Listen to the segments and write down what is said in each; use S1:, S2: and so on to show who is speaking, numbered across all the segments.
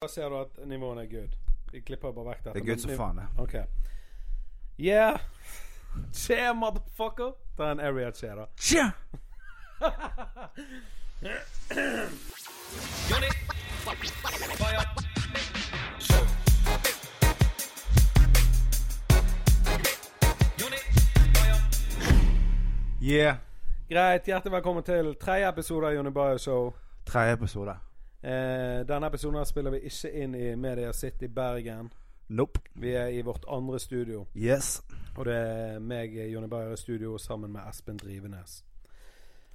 S1: Da ser du at nivåene er good. Vi klipper bare vekk dette.
S2: Det er good
S1: men
S2: som
S1: niv-
S2: faen, det.
S1: Ok. Yeah! Che, motherfucker! Ta en area che, da.
S2: Tja! Yeah.
S1: Greit, hjertelig velkommen til tredje episode av Jonny Bayo Show.
S2: Tredje episode.
S1: Eh, denne episoden her spiller vi ikke inn i Media City Bergen.
S2: Nope.
S1: Vi er i vårt andre studio,
S2: Yes.
S1: og det er meg, Jonny Bayer, i studio sammen med Espen Drivenes.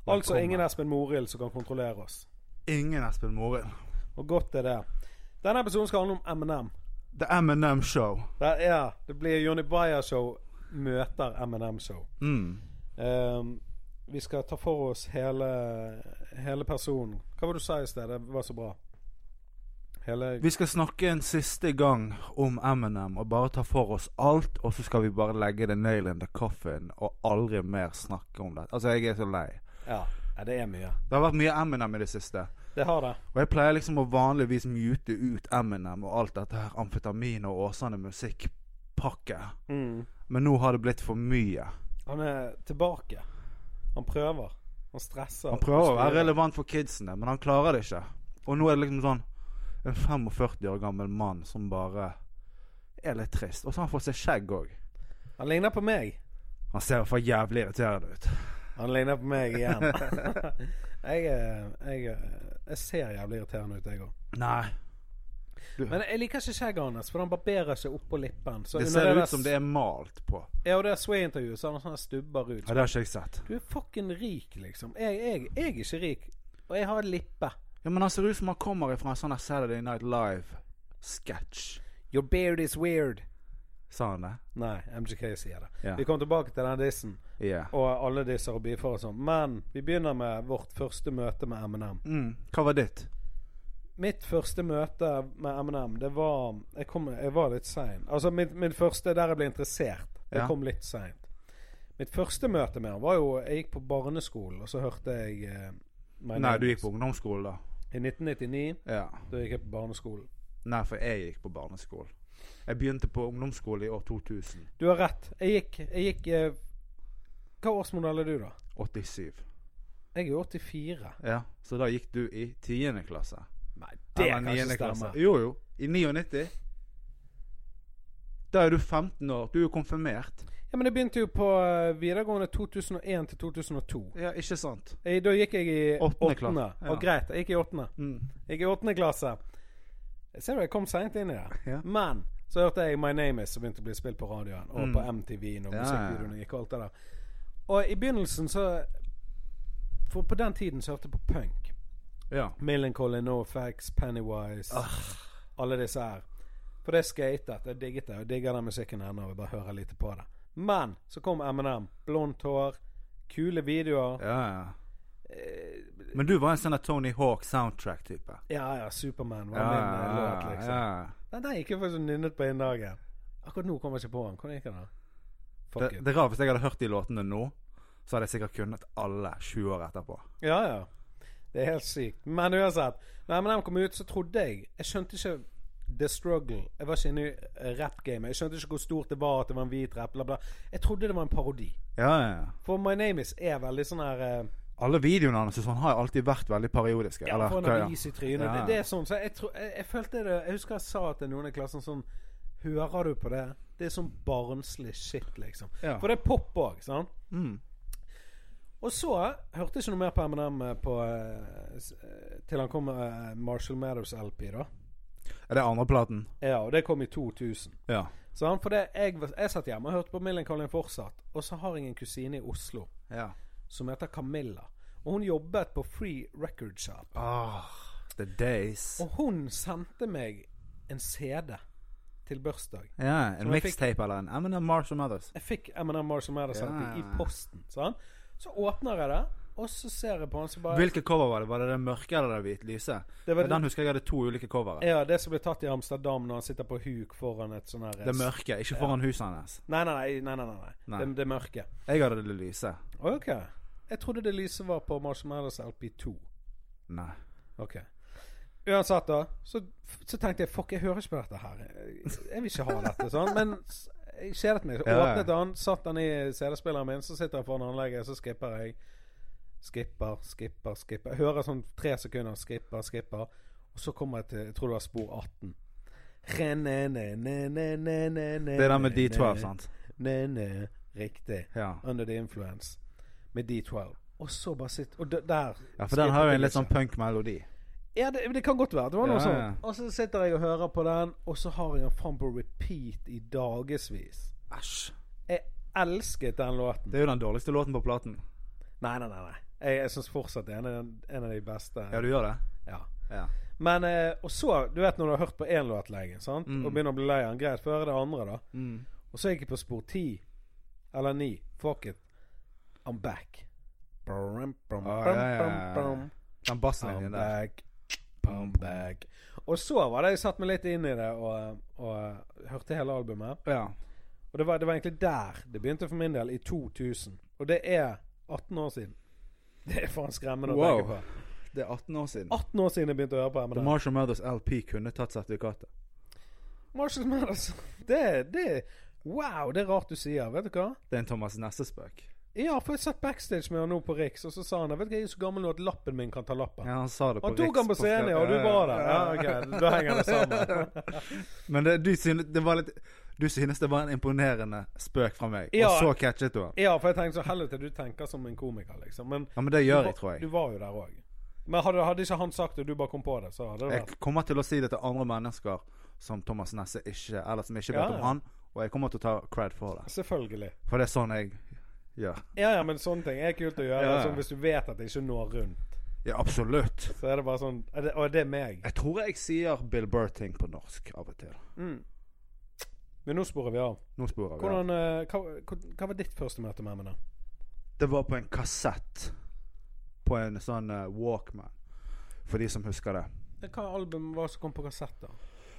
S1: Altså
S2: Velkommen.
S1: ingen Espen Morild som kan kontrollere oss.
S2: Ingen Espen Morild.
S1: Og godt er det. Denne episoden skal handle om M&M.
S2: The M&M Show.
S1: Det, ja, det blir Jonny Bayer-show møter M&M-show.
S2: Mm.
S1: Ehm, vi skal ta for oss hele, hele personen. Hva var det du sa i sted? Det var så bra. Hele
S2: Vi skal snakke en siste gang om M&M og bare ta for oss alt, og så skal vi bare legge det nail in the coffin og aldri mer snakke om det. Altså, jeg er så lei.
S1: Ja, ja, det er mye.
S2: Det har vært mye M&M i det siste.
S1: Det har det.
S2: Og jeg pleier liksom å vanligvis mute ut M&M og alt dette her amfetamin og Åsane musikkpakke.
S1: Mm.
S2: Men nå har det blitt for mye.
S1: Han er tilbake. Han prøver. Han stresser.
S2: Han prøver å være
S1: styrer.
S2: relevant for kidsene, men han klarer det ikke. Og nå er det liksom sånn en 45 år gammel mann som bare er litt trist. Og så har han fått seg skjegg òg.
S1: Han ligner på meg.
S2: Han ser i hvert fall jævlig irriterende ut.
S1: Han ligner på meg igjen. jeg, er- jeg, er- jeg ser jævlig irriterende ut, jeg òg.
S2: Nei.
S1: Men jeg liker ikke skjegget hans, for han barberer seg oppå lippen. Så
S2: Det
S1: under
S2: ser
S1: der
S2: ut som det er malt på.
S1: Ja, og det Sway-intervjuet, så har han sånne stubber ut.
S2: Ja, Det har ikke jeg sett.
S1: Du er fucking rik, liksom. Jeg, jeg, jeg er ikke rik. Og jeg har en lippe.
S2: Ja, Men han ser ut som han kommer ifra en sånn her Saturday Night Live-sketsj.
S1: Your beard is weird.
S2: Sa han det?
S1: Nei, MGK sier det.
S2: Ja.
S1: Vi kom tilbake til den dissen,
S2: Ja.
S1: og alle disser og bifor og sånn. Men vi begynner med vårt første møte med M&M.
S2: Mm. Hva var ditt?
S1: Mitt første møte med M&M, det var Jeg, kom, jeg var litt sein. Altså, mitt, mitt første der jeg ble interessert. Det
S2: Ja.
S1: kom litt seint. Mitt første møte med han var jo Jeg gikk på barneskolen, og så hørte jeg eh, My
S2: Nei,
S1: Name
S2: du
S1: Is-
S2: gikk på ungdomsskolen, da.
S1: I 1999.
S2: Ja.
S1: Da gikk jeg på barneskolen.
S2: Nei, for jeg gikk på barneskolen. Jeg begynte på ungdomsskolen i år 2000.
S1: Du har rett. Jeg gikk, jeg gikk eh, Hva årsmodell er du, da?
S2: 87.
S1: Jeg er 84.
S2: Ja. Så da gikk du i 10. klasse.
S1: Nei, det
S2: Eller
S1: kan ikke
S2: 9.
S1: stemme.
S2: Jo, jo. I 99. Da er du 15 år. Du er jo konfirmert.
S1: Ja, Men jeg begynte jo på eh, videregående 2001 til 2002.
S2: Ja, ikke sant?
S1: Jeg, Eh, da gikk jeg i
S2: Åttende
S1: åttende.
S2: klasse, ja.
S1: Og greit, jeg gikk i åttende.
S2: Mm.
S1: Jeg gikk i åttende klasse. Ser du, jeg kom seint inn i det.
S2: Ja.
S1: Men så hørte jeg My Name Is, som begynte å bli spilt på radioen. Og
S2: Mm.
S1: på MTV-en og
S2: Ja, ja.
S1: musikkvideoene gikk og alt det der. Og i begynnelsen så For på den tiden så hørte jeg på punk.
S2: Ja.
S1: Millencolin, NoFX, Pennywise Alle disse her. For det skatet. Jeg digget det. Og jeg digger den musikken ennå. Jeg bare hører lite på det. Men så kom M&M Blondt hår, kule videoer.
S2: Ja, ja.
S1: Eh,
S2: Men du var en sånn der Tony Hawk soundtrack-type.
S1: Ja ja, Superman var min eh, låt, liksom.
S2: ja.
S1: Den der gikk jeg faktisk og nynnet på innen dagen. Akkurat nå kommer jeg ikke på den. Hvordan gikk den? da? Fuck
S2: Det,
S1: it.
S2: det er rart, hvis jeg hadde hørt de låtene nå, så hadde jeg sikkert kunnet alle 20 år etterpå.
S1: Ja ja. Det er helt sykt. Men uansett. Da M&M kom ut, så trodde jeg Jeg skjønte ikke The Struggle. Jeg var ikke inne i rap-gamet. Jeg skjønte ikke hvor stort det var at det var en hvit rap. Bla, bla. Jeg trodde det var en parodi.
S2: Ja, ja, ja.
S1: For My Name Is er veldig sånn her eh,
S2: Alle videoene hans og sånn har jo alltid vært veldig periodiske.
S1: Ja, får en
S2: hva, ja.
S1: avis i trynet.
S2: Ja.
S1: Det, det er sånn. Så jeg, tror- jeg, jeg følte det Jeg husker jeg sa til noen i klassen sånn Hører du på det? Det er sånn barnslig shit, liksom.
S2: Ja.
S1: For det er pop òg, sant?
S2: Mm.
S1: Og så eh, hørte jeg ikke noe mer på M&M på, eh, s- eh, til han kom med eh, Marshall Meadows LP, da.
S2: Er det andre platen?
S1: Ja, og det kom i 2000.
S2: Ja.
S1: Så han, for det, jeg, var- jeg satt hjemme og hørte på Millen Collin fortsatt, og så har jeg en kusine i Oslo
S2: ja.
S1: som heter Camilla. Og hun jobbet på Free Record Shop.
S2: Ah, the days.
S1: Og hun sendte meg en CD til bursdag.
S2: Ja, En
S1: Som jeg fikk-
S2: mixtape eller en Eminem Marshall Mathers.
S1: Jeg fikk M&M Marshall Mathers
S2: Ja.
S1: LP i posten. Sant? Så åpner jeg det, og så ser jeg på han, så bare
S2: Hvilket cover var det? Var det det mørke eller det hvite lyse?
S1: Det var
S2: For Den husker jeg hadde to ulike covere.
S1: Ja, det som ble tatt i Amsterdam når han sitter på huk foran et sånn her
S2: Det mørke, ikke foran huset hans.
S1: Nei, nei, nei. nei, nei, nei.
S2: Nei.
S1: Det, det mørke.
S2: Jeg hadde det lyse.
S1: OK. Jeg trodde det lyse var på Marshall Mathers LP2.
S2: Nei.
S1: OK. Uansett, da, så, så tenkte jeg fuck, jeg hører ikke på dette her. Jeg vil ikke ha dette sånn. Men s- jeg kjedet meg. Så
S2: Ja, ja.
S1: åpnet den, satt den i CD-spilleren min, så sitter jeg foran anlegget, så skipper jeg. Skipper, skipper, skipper. Jeg hører sånn tre sekunder, skipper, skipper. Og så kommer jeg til jeg tror det var spor 18. Det
S2: Det er den med
S1: Eh,
S2: D12, sant?
S1: Ne-ne. Riktig.
S2: Ja.
S1: Under the influence. Med D12. Og så bare sitt Og d- der
S2: ja for den har jo en litt
S1: skipper liksom
S2: sånn punk-melodi.
S1: ja, det, det kan godt være. Det var noe
S2: Ja, ja.
S1: sånt. Og så sitter jeg og hører på den, og så har jeg den faen på repeat i dagevis.
S2: Æsj.
S1: Jeg elsket den låten.
S2: Det er jo den dårligste låten på platen.
S1: Nei, nei, nei. nei. Jeg, jeg syns fortsatt det er en, av den- en av de beste.
S2: Ja, du gjør det?
S1: Ja.
S2: Ja.
S1: Men eh, Og så, du vet når du har hørt på én låt lenge, sant?
S2: Mm.
S1: og begynner å bli lei av den, greit, få høre det andre, da.
S2: Mm.
S1: Og så gikk jeg på spor ti. Eller ni. Fuck it. I'm back. Brum, brum,
S2: Ah,
S1: brum,
S2: ja, ja,
S1: brum,
S2: ja.
S1: brum.
S2: Den
S1: Come
S2: basslinjen der.
S1: back, come back. Og så var det jeg satt meg litt inn i det og, og eh, hørte hele albumet.
S2: Ja.
S1: Og det var, det var egentlig der det begynte for min del, i 2000. Og det er 18 år siden. Det er faen skremmende å
S2: Wow.
S1: tenke på.
S2: Det er 18 år siden.
S1: 18 år siden jeg begynte å høre på
S2: The
S1: Eminem.
S2: Marshall Mathers LP kunne tatt sertifikatet.
S1: Marshall Mathers. altså? Det, det Wow, det er rart du sier. Vet du hva?
S2: Det er en Thomas Nesse-spøk.
S1: Ja, for jeg satt backstage med han nå på Riks, og så sa han Vet du hva, jeg er så gammel nå at lappen min kan ta lappen.
S2: Ja, han sa det på
S1: Han tok han på scenen, ja, og du var der. Ja, ok, Da henger det sammen.
S2: Men det, du, synes, det var litt, du synes det var en imponerende spøk fra meg,
S1: Ja.
S2: og så catchet du han.
S1: Ja, for jeg tenkte så helvete, du tenker som en komiker, liksom. Men
S2: Ja, men det
S1: du
S2: gjør
S1: var-
S2: jeg, tror jeg.
S1: Du var jo der òg. Men hadde, hadde ikke han sagt det, og du bare kom på det, så hadde det vært
S2: Jeg kommer til å si det til andre mennesker som Thomas Nesse ikke Eller som ikke vet
S1: Ja, ja.
S2: om han, og jeg kommer til å ta cred for det.
S1: Selvfølgelig.
S2: For det er sånn jeg gjør.
S1: Ja ja, men sånne ting er kult å gjøre.
S2: Ja, ja.
S1: Sånn, hvis du vet at det ikke når rundt,
S2: Ja, absolutt.
S1: så er det bare sånn er det, Og det er meg.
S2: Jeg tror jeg sier Bill Burr-ting på norsk av og til.
S1: Mm. Men nå sporer vi av.
S2: Nå sporer vi. av.
S1: Hvordan, eh, hva, hva- hva var ditt første møte med Eminem?
S2: Det var på en kassett. På en sånn eh, Walkman. For de som husker det.
S1: Hva album var det som kom på kassett, da?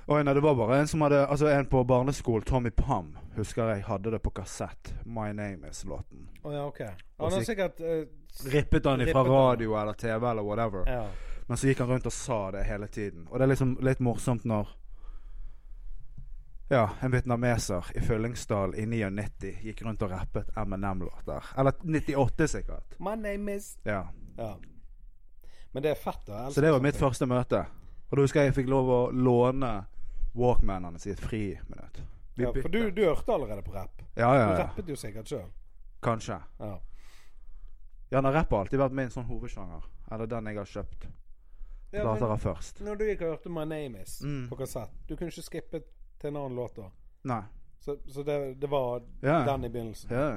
S2: Oi, nei, det var bare en som hadde Altså en på barneskolen, Tommy Pam, husker jeg hadde det på kassett. My Name Is-låten.
S1: Å ja, ok.
S2: Og
S1: Han har
S2: så-
S1: sikkert eh, s-
S2: Rippet han
S1: Rippet
S2: ifra
S1: han.
S2: radio eller TV eller whatever.
S1: Ja.
S2: Men så gikk han rundt og sa det hele tiden. Og det er liksom litt morsomt når ja, en vietnameser i Fyllingsdalen i 99 gikk rundt og rappet M&M-låter. Eller 98, sikkert.
S1: My name is
S2: Ja.
S1: Ja. Men det er fett, da. Jeg
S2: Så det var
S1: elsker
S2: mitt
S1: sånne
S2: første møte. Og da husker jeg jeg fikk lov å låne Walkmanene i et friminutt.
S1: ting.
S2: Vi
S1: Ja, for
S2: bytte.
S1: du, du hørte allerede på rapp.
S2: Ja, ja,
S1: Du
S2: ja.
S1: rappet jo sikkert sjøl.
S2: Kanskje.
S1: Ja.
S2: Ja, nei, rapp har alltid vært min sånn hovedsjanger. Eller den jeg har kjøpt
S1: Ja, men
S2: plater av først.
S1: når du gikk og hørte My Name Is
S2: Mm.
S1: på kassett, du kunne ikke skippe til en annen låt da.
S2: Nei.
S1: Så, så det, det var
S2: Ja. ja.
S1: den i begynnelsen.
S2: ja.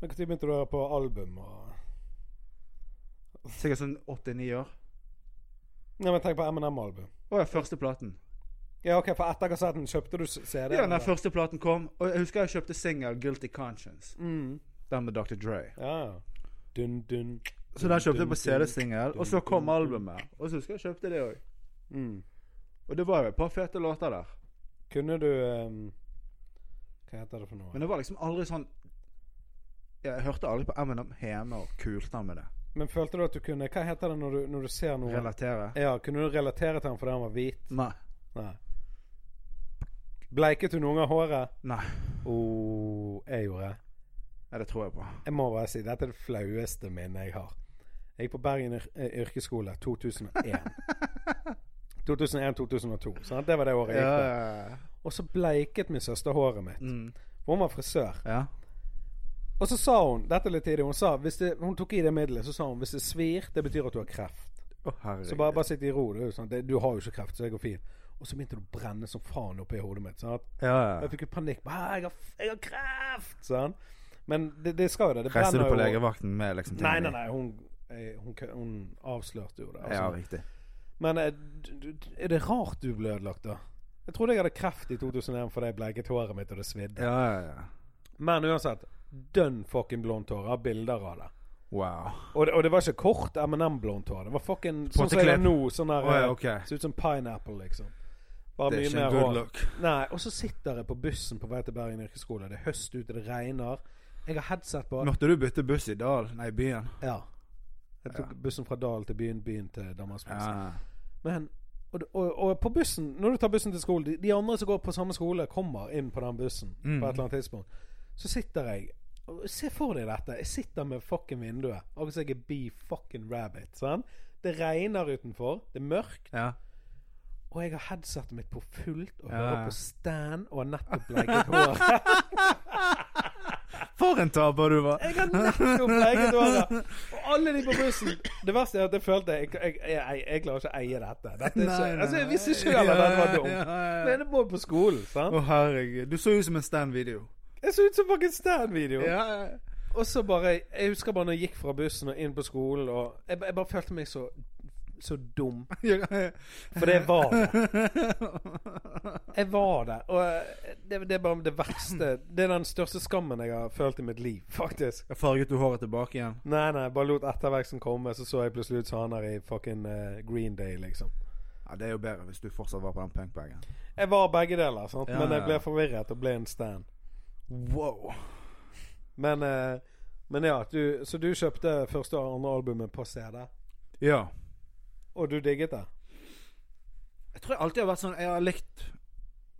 S1: Men Når begynte du å høre på album? Og...
S2: Sikkert sånn 89 år.
S1: Nei, men Tenk på M&M-album.
S2: Å ja, første platen.
S1: Ja, ok, For etter kassetten kjøpte du s- CD?
S2: Ja, den
S1: eller?
S2: første platen kom, og jeg husker jeg kjøpte singel 'Guilty Conscience'.
S1: Mm.
S2: Den med Dr. Dre.
S1: Ja, ja. Dun, dun.
S2: Så den kjøpte jeg på CD-singel, og så kom albumet. Og så husker jeg jeg kjøpte det òg.
S1: Mm.
S2: Og det var jo et par fete låter der.
S1: Kunne du ehm, Hva heter det for noe?
S2: Men
S1: Men,
S2: det var liksom aldri sånn Jeg hørte aldri på M&M hjemme og kulte han med det.
S1: følte du at du kunne Hva heter det når du, når du ser noe
S2: Relatere?
S1: Ja, Kunne du relatere til han fordi han var hvit?
S2: Nei.
S1: Nei. Bleiket du noen gang håret?
S2: Nei.
S1: Oh, jeg gjorde det.
S2: Nei, det tror jeg på.
S1: Jeg må bare si, dette er det flaueste minnet jeg har. Jeg gikk på Bergen yr eh, yrkesskole 2001. 2001-2002. sant? Det var det året jeg
S2: Ja,
S1: gikk på.
S2: ja, ja.
S1: Og så bleiket min søster håret mitt.
S2: Mm.
S1: For hun var frisør.
S2: ja.
S1: Og så sa hun dette er litt tidlig, hun sa, hvis det, hun tok i det middelet, så sa hun hvis det svir, det betyr at du har kreft.
S2: Å, herregud.
S1: Så bare, bare sitt i ro. Du, sant? Det, du har jo ikke kreft, så det går fint. Og så begynte det å brenne som faen oppi hodet mitt. sant?
S2: ja,
S1: Og
S2: ja.
S1: Jeg fikk jo panikk. Bare, «Hæ, jeg, har, jeg har kreft! Sånn. Men det, det skal jo det. det
S2: Reiste du
S1: brenner
S2: på
S1: jo-
S2: legevakten med liksom
S1: Nei,
S2: tingene
S1: nei,
S2: i?
S1: nei. Hun, eh, hun, kø- hun avslørte jo det.
S2: Ja,
S1: Altså.
S2: riktig.
S1: Men eh, d- d- er det rart du ble ødelagt, da? Jeg trodde jeg hadde kreft i 2001 fordi jeg bleiket håret mitt og det svidde.
S2: Ja, ja, ja.
S1: Men uansett, dønn fucking blondt hår. Jeg har bilder av det.
S2: Wow.
S1: Og det, og det var ikke kort M&M-blondt hår. Det var fucking sånn som jeg
S2: Potteklipp.
S1: har nå. Sånn der,
S2: Å, ja,
S1: eh,
S2: ok.
S1: Ser ut som pineapple, liksom. Bare
S2: Det er
S1: mye
S2: ikke en
S1: mer
S2: good
S1: hår.
S2: look.
S1: Nei, og så sitter jeg på bussen på vei til Bergen yrkesskole. Det er høst ute, det regner. Jeg har headset på.
S2: Måtte du bytte buss i dal? Nei, byen.
S1: Ja. Jeg tok bussen fra Dal til byen, byen til Danmarksplassen.
S2: Ja.
S1: Men Og, og, og på bussen, når du tar bussen til skolen de, de andre som går på samme skole, kommer inn på den bussen
S2: Mm.
S1: på et eller annet tidspunkt. Så sitter jeg og Se for deg dette. Jeg sitter med fucking vinduet. Akkurat som jeg er Bee fucking Rabbit. Sant? Det regner utenfor. Det er mørkt.
S2: Ja.
S1: Og jeg har headsetet mitt på fullt og
S2: Ja,
S1: hører
S2: ja.
S1: på Stan og har nettopp legget håret.
S2: For en taper du var!
S1: Jeg har nettopp legget håret! Og alle de på bussen Det verste er at jeg følte Jeg, jeg, jeg, jeg, jeg klarer ikke å eie dette. dette er
S2: Nei,
S1: ikke,
S2: nei,
S1: altså, jeg visste
S2: nei.
S1: selv at dette var
S2: Ja,
S1: dumt.
S2: ja, ja.
S1: Men det må jo på skolen,
S2: Å,
S1: sant?
S2: herregud. Du så ut som en Stan-video.
S1: Jeg så ut som fucking Stan-video.
S2: Ja, ja.
S1: Og så bare Jeg husker bare når jeg gikk fra bussen og inn på skolen, og jeg, jeg bare følte meg så så dum.
S2: ja.
S1: For det var det. Jeg var det. Og eh, det, det er bare det verste Det er den største skammen jeg har følt i mitt liv, faktisk.
S2: Jeg Farget du håret tilbake igjen?
S1: Nei, nei, bare lot etterveksten komme, så så jeg plutselig ut som han her i fucking eh, Green Day, liksom.
S2: Ja, Det er jo bedre hvis du fortsatt var på den punkbagen.
S1: Jeg var begge deler, sant?
S2: Ja,
S1: men jeg
S2: ja,
S1: ble
S2: ja.
S1: forvirret og ble en stand.
S2: Wow.
S1: Men, eh, men ja, du, så du kjøpte første og andre albumet på CD,
S2: Ja.
S1: og du digget det?
S2: Jeg tror jeg alltid har vært sånn Jeg har likt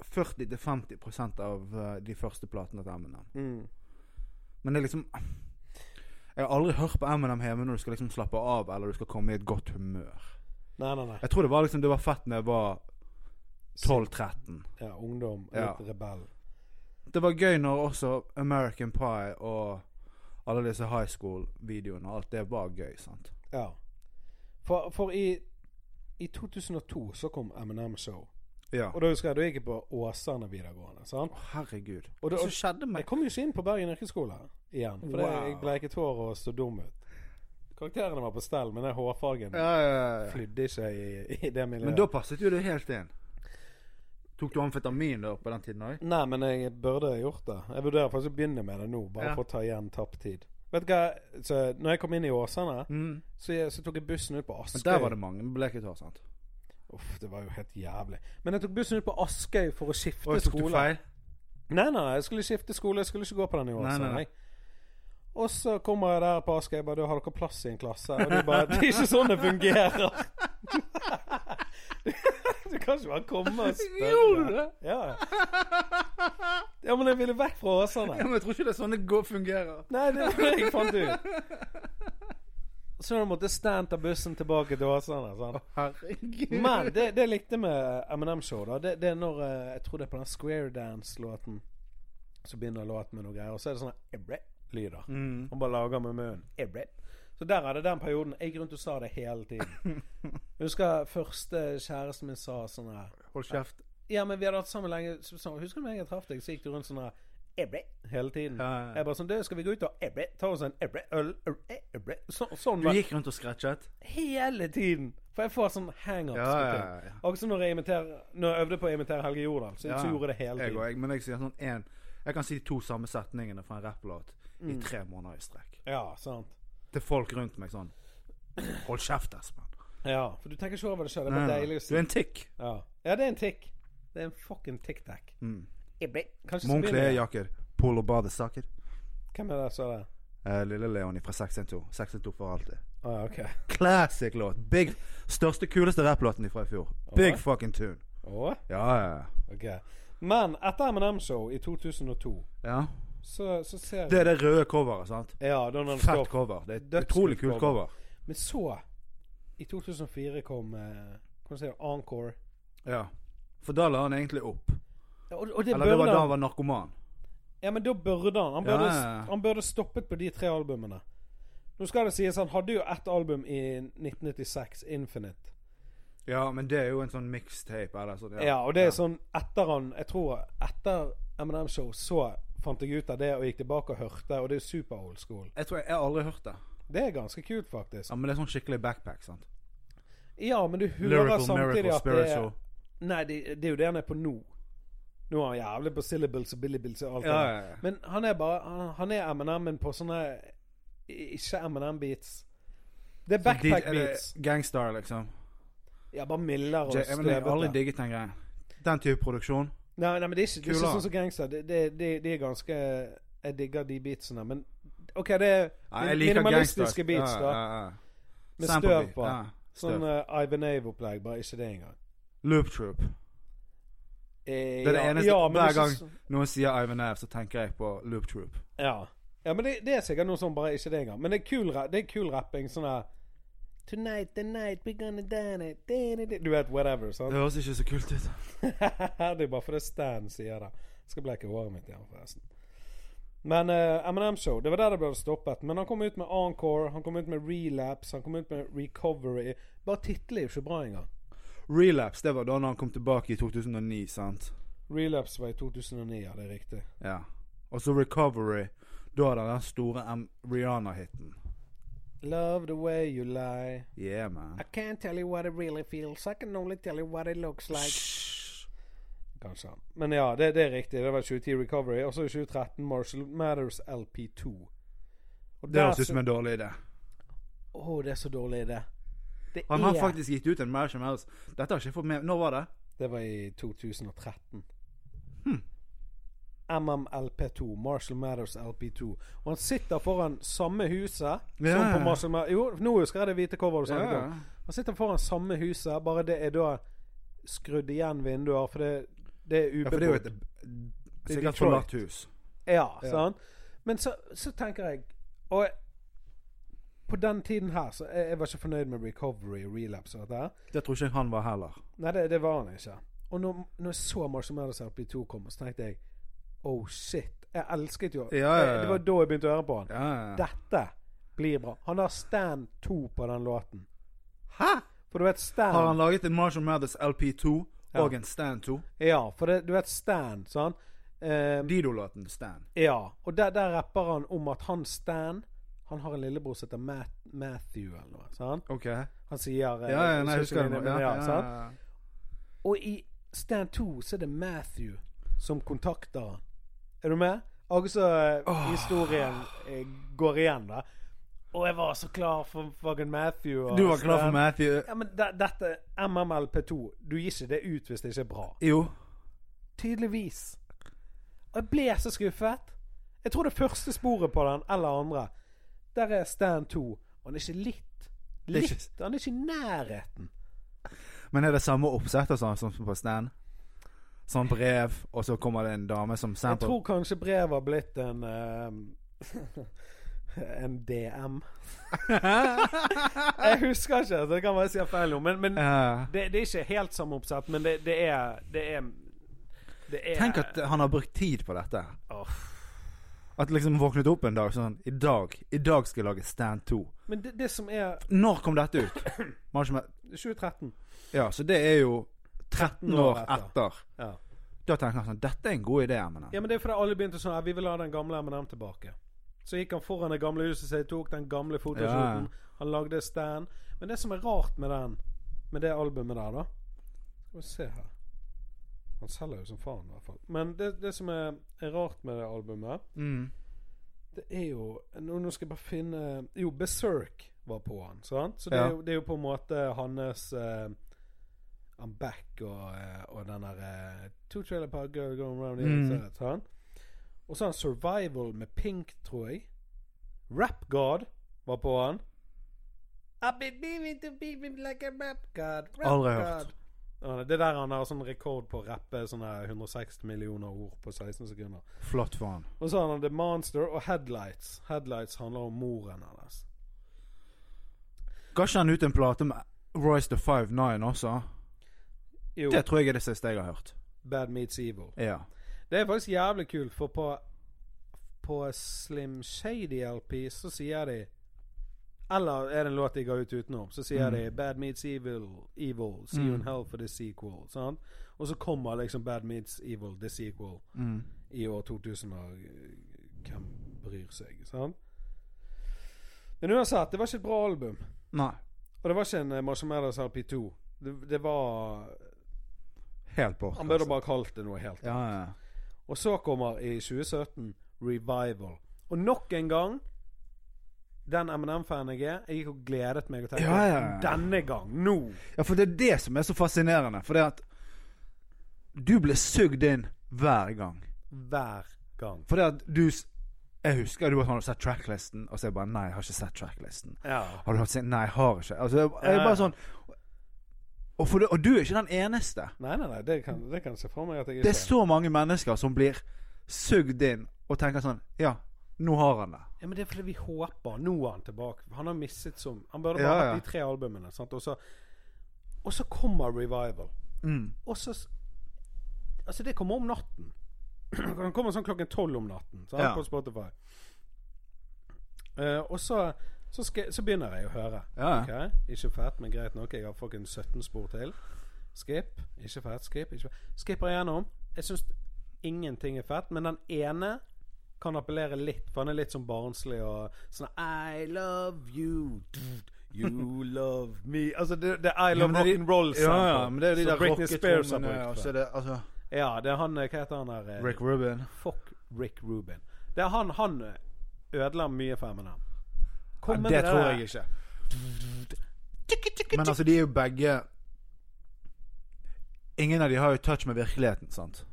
S2: 40-50 av eh, de første platene til Eminem.
S1: Mm.
S2: Men det er liksom Jeg har aldri hørt på Eminem hjemme når du skal liksom slappe av eller du skal komme i et godt humør.
S1: Nei, nei, nei.
S2: Jeg tror det var liksom Det var fett når jeg var 12-13.
S1: Ja, ungdom,
S2: Ja.
S1: litt rebell.
S2: Det var gøy når også American Pie og alle disse high school-videoene og alt det var gøy, sant.
S1: Ja. For, for i, i 2002 så kom Eminem Show.
S2: Ja.
S1: Og da husker jeg da gikk jeg på Åsane videregående. sant?
S2: Å, herregud.
S1: Og da,
S2: Hva som skjedde
S1: Jeg
S2: med
S1: kom jo ikke inn på Bergen yrkesskole igjen. For
S2: Wow.
S1: jeg bleiket hår og så dum ut. Karakterene var på stell, men den hårfargen
S2: ja, ja, ja.
S1: flydde ikke i, i det miljøet.
S2: Men da passet jo det helt inn. Tok du amfetamin da på den tiden òg?
S1: Nei, men jeg burde gjort det. Jeg vurderer faktisk å begynne med det nå, bare
S2: Ja.
S1: for å ta igjen tapt tid. Vet du hva, så når jeg kom inn i Åsane,
S2: Mm.
S1: så, jeg, så tok jeg bussen ut på Askøy.
S2: Men der var det mange med bleket hår, sant?
S1: Uff, det var jo helt jævlig. Men jeg tok bussen ut på Askøy for å skifte
S2: Og tok du
S1: skole.
S2: feil?
S1: Nei, nei, jeg skulle skifte skole. Jeg skulle ikke gå på den i år.
S2: Nei,
S1: sa
S2: nei, nei.
S1: jeg. Og så kommer jeg der på Askøy og bare 'Du, har dere plass i en klasse?' Og de bare 'Det er ikke sånn det fungerer'. du kan ikke bare komme og spørre.
S2: Gjorde du det?
S1: Ja. ja, men jeg ville vekk fra
S2: Ja,
S1: Åsane.
S2: men jeg tror ikke det er sånn det går fungerer.
S1: Nei, det var det jeg fant ut. Så da måtte Stan ta bussen tilbake til Åsane. sant?
S2: Herregud.
S1: Men det, det jeg likte med Eminem-show, da, det, det er når eh, Jeg tror det er på den Square Dance-låten. Så begynner låten med noe greier, og så er det sånne ebre-lyder.
S2: Mm.
S1: Han bare lager med munnen. Ebre. Så der er det den perioden. Jeg gikk rundt og sa det hele tiden. Jeg husker første kjæresten min sa sånn her
S2: Hold kjeft.
S1: Ja, men vi hadde hatt sammen lenge. Så, sa hun, husker du når jeg traff deg, så gikk du rundt sånn her ebre hele tiden.
S2: Ja, ja, ja.
S1: Jeg bare sånn Du, skal vi gå ut og ebre? Ta oss en ebre? Øl? Ebre? ebre. Så, sånn
S2: Du
S1: var
S2: gikk rundt og skretchet?
S1: hele tiden. For jeg får sånn hangups.
S2: Ja,
S1: på
S2: ja,
S1: ting.
S2: ja.
S1: Akkurat som når jeg, imiterer- når jeg øvde på å imitere Helge Jordal. Så, så gjorde jeg det hele
S2: Jeg og
S1: tiden.
S2: jeg, men jeg sier sånn én Jeg kan si de to samme setningene fra en rapplåt i
S1: Mm.
S2: tre måneder i strekk.
S1: Ja, sant.
S2: Til folk rundt meg sånn Hold kjeft, Espen.
S1: Ja, For du tenker ikke over det sjøl. Det
S2: Nei,
S1: er
S2: nei.
S1: bare deilig å
S2: Du er en tikk.
S1: Ja. ja, det er en tikk. Det er en fucking tic-tac.
S2: Mm.
S1: Kanskje så begynner jeg-
S2: Munklejakker, polo badesaker.
S1: Hvem er det som er det?
S2: Eh, Lille Leonie fra 612. 612 for alltid.
S1: Å ja, ok.
S2: Classic låt. Big, største, kuleste rapplåten fra i fjor. Big
S1: Alright.
S2: fucking tune.
S1: Å,
S2: Ja, ja, ja.
S1: ok. Men etter Eminem-show i 2002,
S2: ja.
S1: så, så ser
S2: Det
S1: jeg
S2: er det røde coveret, sant?
S1: Ja, Donald
S2: Fett
S1: Trump.
S2: cover. Det er et
S1: Dødskult
S2: utrolig kult
S1: cover.
S2: cover.
S1: Men så, i 2004, kom eh, Hva sier du? Encore.
S2: Ja. For da la han egentlig opp.
S1: Ja, og, og det
S2: Eller det var
S1: burde
S2: da han
S1: han,
S2: var narkoman.
S1: ja, men da burde han. Han burde,
S2: Ja, ja, ja.
S1: han burde stoppet på de tre albumene. Nå skal det sies, han hadde jo ett album i 1996, Infinite.
S2: Ja, men det er jo en sånn mixtape, eller sånn.
S1: Ja, og det er sånn etter han Jeg tror etter M&M Show så fant jeg ut av det og gikk tilbake og hørte, og det er super old school.
S2: Jeg tror jeg, jeg har aldri hørt det.
S1: Det er ganske kult, faktisk.
S2: Ja, Men det er sånn skikkelig backpack, sant.
S1: Ja, men du hører
S2: Lyrical,
S1: samtidig
S2: miracle,
S1: at det er
S2: spiritual.
S1: Nei, det, det er jo det han er på nå. Nå er han jævlig på syllables og billibills og alt
S2: Ja,
S1: det der.
S2: ja, ja.
S1: Men han er bare Han, han er M&M-en på sånne ikke M&M-beats. Det er
S2: Så de- er det
S1: backpack-beats.
S2: Gangstar, liksom.
S1: Ja, bare mildere og
S2: Jeg, men jeg har aldri
S1: støvete.
S2: digget den greia. Den type produksjon.
S1: Nei, nei, men det er ikke, det er ikke
S2: Kula.
S1: sånn som gangster. Det, det, det, det er ganske Jeg digger de beatsene, men OK, det er
S2: Ja, jeg
S1: min-
S2: liker
S1: minimalistiske
S2: gangsters.
S1: beats, da.
S2: Ja, ja, ja.
S1: Med
S2: Sample
S1: støv
S2: beat,
S1: på. eh,
S2: ja, støv.
S1: Sånn uh, Ivan Ave-opplegg, bare ikke det engang.
S2: Loop Troop.
S1: Eh,
S2: Det er det
S1: ja,
S2: eneste-
S1: ja, men
S2: hver
S1: du synes-
S2: Når jeg sier Ivan Ev, så tenker jeg på Loop Troop.
S1: Ja. ja men det, det er sikkert noe sånn, bare ikke det engang. Men det er kul, ra- det er kul rapping. Sånn her Tonight, the night, we're gonna dine it. dine it." Du vet, whatever.
S2: Det
S1: Sant?
S2: høres ikke så kult ut.
S1: det er bare fordi Stan sier det. Jeg skal bleke håret mitt igjen, forresten. Men eh, M&M Show, det var der det ble stoppet. Men han kom ut med Encore, han kom ut med Relapse, han kom ut med Recovery. Bare tittelen er jo ikke bra engang.
S2: Relapse, det var da når han kom tilbake i 2009, sant?
S1: Relapse var i 2009, ja, det er riktig.
S2: Ja. Og så Recovery. Da hadde han den store M- Rihanna-hiten.
S1: Love the way you lie.
S2: Yeah, man.
S1: I can't tell you what it really feels. I can only tell you what it looks like. Kanskje han. Men ja, det, det er riktig. Det var 2010 Recovery. Og så i 2013 Marshall Matters LP2. Og
S2: Det
S1: der
S2: høres ut
S1: så-
S2: som en dårlig idé.
S1: Å, det er så dårlig idé. Det
S2: Han har
S1: er
S2: faktisk gitt ut en Marshall Mouse. Dette har ikke jeg fått med Når var det?
S1: Det var i 2013.
S2: Hm.
S1: MMLP2. Marshall Matters LP2. Og han sitter foran samme huset
S2: Ja.
S1: som på Marshall Matters Jo, nå husker jeg det hvite coveret du snakket om.
S2: Ja.
S1: Han sitter foran samme huset, bare det er da skrudd igjen vinduer, for det, det er
S2: ja, for det er jo
S1: ubebodd.
S2: et
S1: Det er
S2: sikkert
S1: Detroit.
S2: forlatt hus.
S1: Ja,
S2: Ja.
S1: sant? Men så, så tenker jeg Og jeg- på den tiden her så jeg, jeg var ikke fornøyd med recovery, relapse og alt det her.
S2: Det tror ikke jeg han var heller.
S1: Nei, det, det var han ikke. Og når, når jeg så Marshall Mathers LP2 komme, så tenkte jeg Oh shit. Jeg elsket jo
S2: Ja, ja, ja.
S1: Det- Det var da jeg begynte å høre på han.
S2: Ja, ja.
S1: Dette blir bra. Han har Stand 2 på den låten.
S2: Hæ?
S1: For du vet Stand
S2: Har han laget en Marshall Mathers LP2
S1: Ja.
S2: og en Stan 2?
S1: Ja, for det, du vet Stan, sant? Eh,
S2: Dido-låten Stan.
S1: ja. Og der, der rapper han om at han Stan Han har en lillebror som heter Matt, Matthew, eller noe. Sant?
S2: Ok.
S1: Han sier eh,
S2: Ja, ja, nei, jeg
S1: ikke
S2: husker
S1: mine,
S2: det. nå.
S1: men
S2: Ja,
S1: ja,
S2: ja,
S1: sant?
S2: ja.
S1: Og i Stan 2 så er det Matthew som kontakter han. Er du med? Altså
S2: Åh.
S1: historien eh, går igjen, da. Og jeg var så klar for fucking Matthew. Og
S2: Du var klar for
S1: Stan.
S2: Matthew?
S1: Ja, men de, dette MMLP2 Du gir ikke det ut hvis det ikke er bra.
S2: Jo.
S1: Tydeligvis. Og jeg ble så skuffet. Jeg tror det første sporet på den, eller andre, der er Stan 2. Og han er ikke litt
S2: er ikke-
S1: Litt! Han er ikke i nærheten.
S2: Men er det samme oppsett og sånn som på Stan? Sånn brev, og så kommer det en dame som
S1: Jeg
S2: sample?
S1: tror kanskje brevet har blitt en eh, En DM. Jeg husker ikke, så det kan være jeg sier feil nå. Men, men
S2: Eh,
S1: det, det er ikke helt samme oppsett, men det, det er Det er, det er
S2: tenk at han har brukt tid på dette.
S1: Åh.
S2: At liksom våknet opp en dag sånn I dag i dag skal jeg lage Stan 2.
S1: Men det, det som er
S2: Når kom dette ut? Marshall-
S1: 2013.
S2: Ja, så det er jo 13 år etter.
S1: Ja.
S2: Da tenker han sånn Dette er en god idé, Eminem.
S1: ja, men det er fordi alle begynte sånn her, Vi vil ha den gamle M&M tilbake. Så gikk han foran det gamle huset sitt, tok den gamle fotoshooten. Han lagde stand. Men det som er rart med den Med det albumet der, da Skal vi se her Han selger jo som faen, i hvert fall. Men det, det som er, er rart med det albumet,
S2: Mm.
S1: det er jo Nå, nå skal jeg bare finne Jo, Berserk var på han, sant? Så det,
S2: Ja.
S1: er, jo, det er jo på en måte hans eh, I'm back og, eh, og den der eh, Two trailer park girl going around the
S2: Mm.
S1: outside, sant? Og så har han Survival med Pink, tror jeg. Rap God var på han. I've been beaming to beaming like a rap god. Rap
S2: Aldri
S1: god.
S2: hørt.
S1: Ja, Det er der han har sånn rekord på å rappe sånne 160 millioner ord på 16 sekunder.
S2: Flott for han.
S1: Og så har han The Monster og Headlights. Headlights handler om moren hennes.
S2: Ga ikke han ut en plate med Royce the Five Nine også?
S1: Jo,
S2: Det tror jeg er det siste jeg har hørt.
S1: Bad Meets Evil.
S2: Ja.
S1: Det er faktisk jævlig kult, for på, på Slim Shady LP så sier de Eller er det en låt de ga ut utenom? Så sier
S2: Mm.
S1: de Bad Meets Evil, Evil, See you in
S2: Mm.
S1: Hell for the sequel. Sant? Og så kommer liksom Bad Meets Evil, the sequel,
S2: Mm.
S1: i år 2000, og øh, hvem bryr seg? Sant? Men uansett, det var ikke et bra album.
S2: Nei.
S1: Og det var ikke en eh, Marshall Mathers LP2. Det, det var
S2: Helt bort.
S1: Han burde bare kalt det noe helt
S2: Ja, ja.
S1: Og så kommer i 2017 Revival. Og nok en gang den M&M-fanen jeg er, jeg gikk og gledet meg og tenkte
S2: Ja, ja, ja.
S1: Denne gang! Nå!
S2: ja, for det er det som er så fascinerende. For det at du blir sugd inn hver gang.
S1: Hver gang.
S2: For det at du s- Jeg husker du har sett tracklisten, og så er jeg bare Nei, jeg har ikke sett tracklisten.
S1: Ja.
S2: Har du hatt sett Nei, jeg har ikke. Altså, jeg, jeg er
S1: Ja.
S2: bare sånn Og, for du, og du er ikke den eneste.
S1: Nei, nei, nei, det kan, det kan jeg se for meg at jeg
S2: Det
S1: ikke
S2: er så mange mennesker som blir sugd inn og tenker sånn Ja, nå har han det.
S1: Ja, men Det er fordi vi håper. Nå er han tilbake. Han har mistet som Han burde
S2: Ja,
S1: bare
S2: ja.
S1: hatt de tre albumene. sant? Og så, og så kommer Revival.
S2: Mm.
S1: Og så s- Altså, det kommer om natten. Han kommer sånn klokken tolv om natten sant?
S2: Ja.
S1: på Spotify. Eh, og så, så, skal, så begynner jeg å høre.
S2: Ja, ja.
S1: Ok, Ikke fett, men greit nok. Jeg har fucking 17 spor til. Skip. Ikke fett, skip. Ikke fett. Skipper igjennom. Jeg syns ingenting er fett, men den ene kan appellere litt, for han er litt sånn barnslig og sånn I love you. You love me Altså det, det er I
S2: Ja, men
S1: love
S2: det er de-
S1: rock'n'roll.
S2: Ja, ja, men det er de
S1: som
S2: der
S1: Britney Spears har
S2: rocketrommene, og
S1: brukt.
S2: så er
S1: før.
S2: det altså
S1: Ja, det er han eh, Hva heter han her? eh,
S2: Rick Rubin.
S1: Fuck Rick Rubin. Det er han han eh, ødela mye for Eminem. Kom
S2: Ja,
S1: med
S2: det
S1: der-
S2: tror jeg ikke. Men altså, de er jo begge Ingen av de har jo touch med virkeligheten, sant?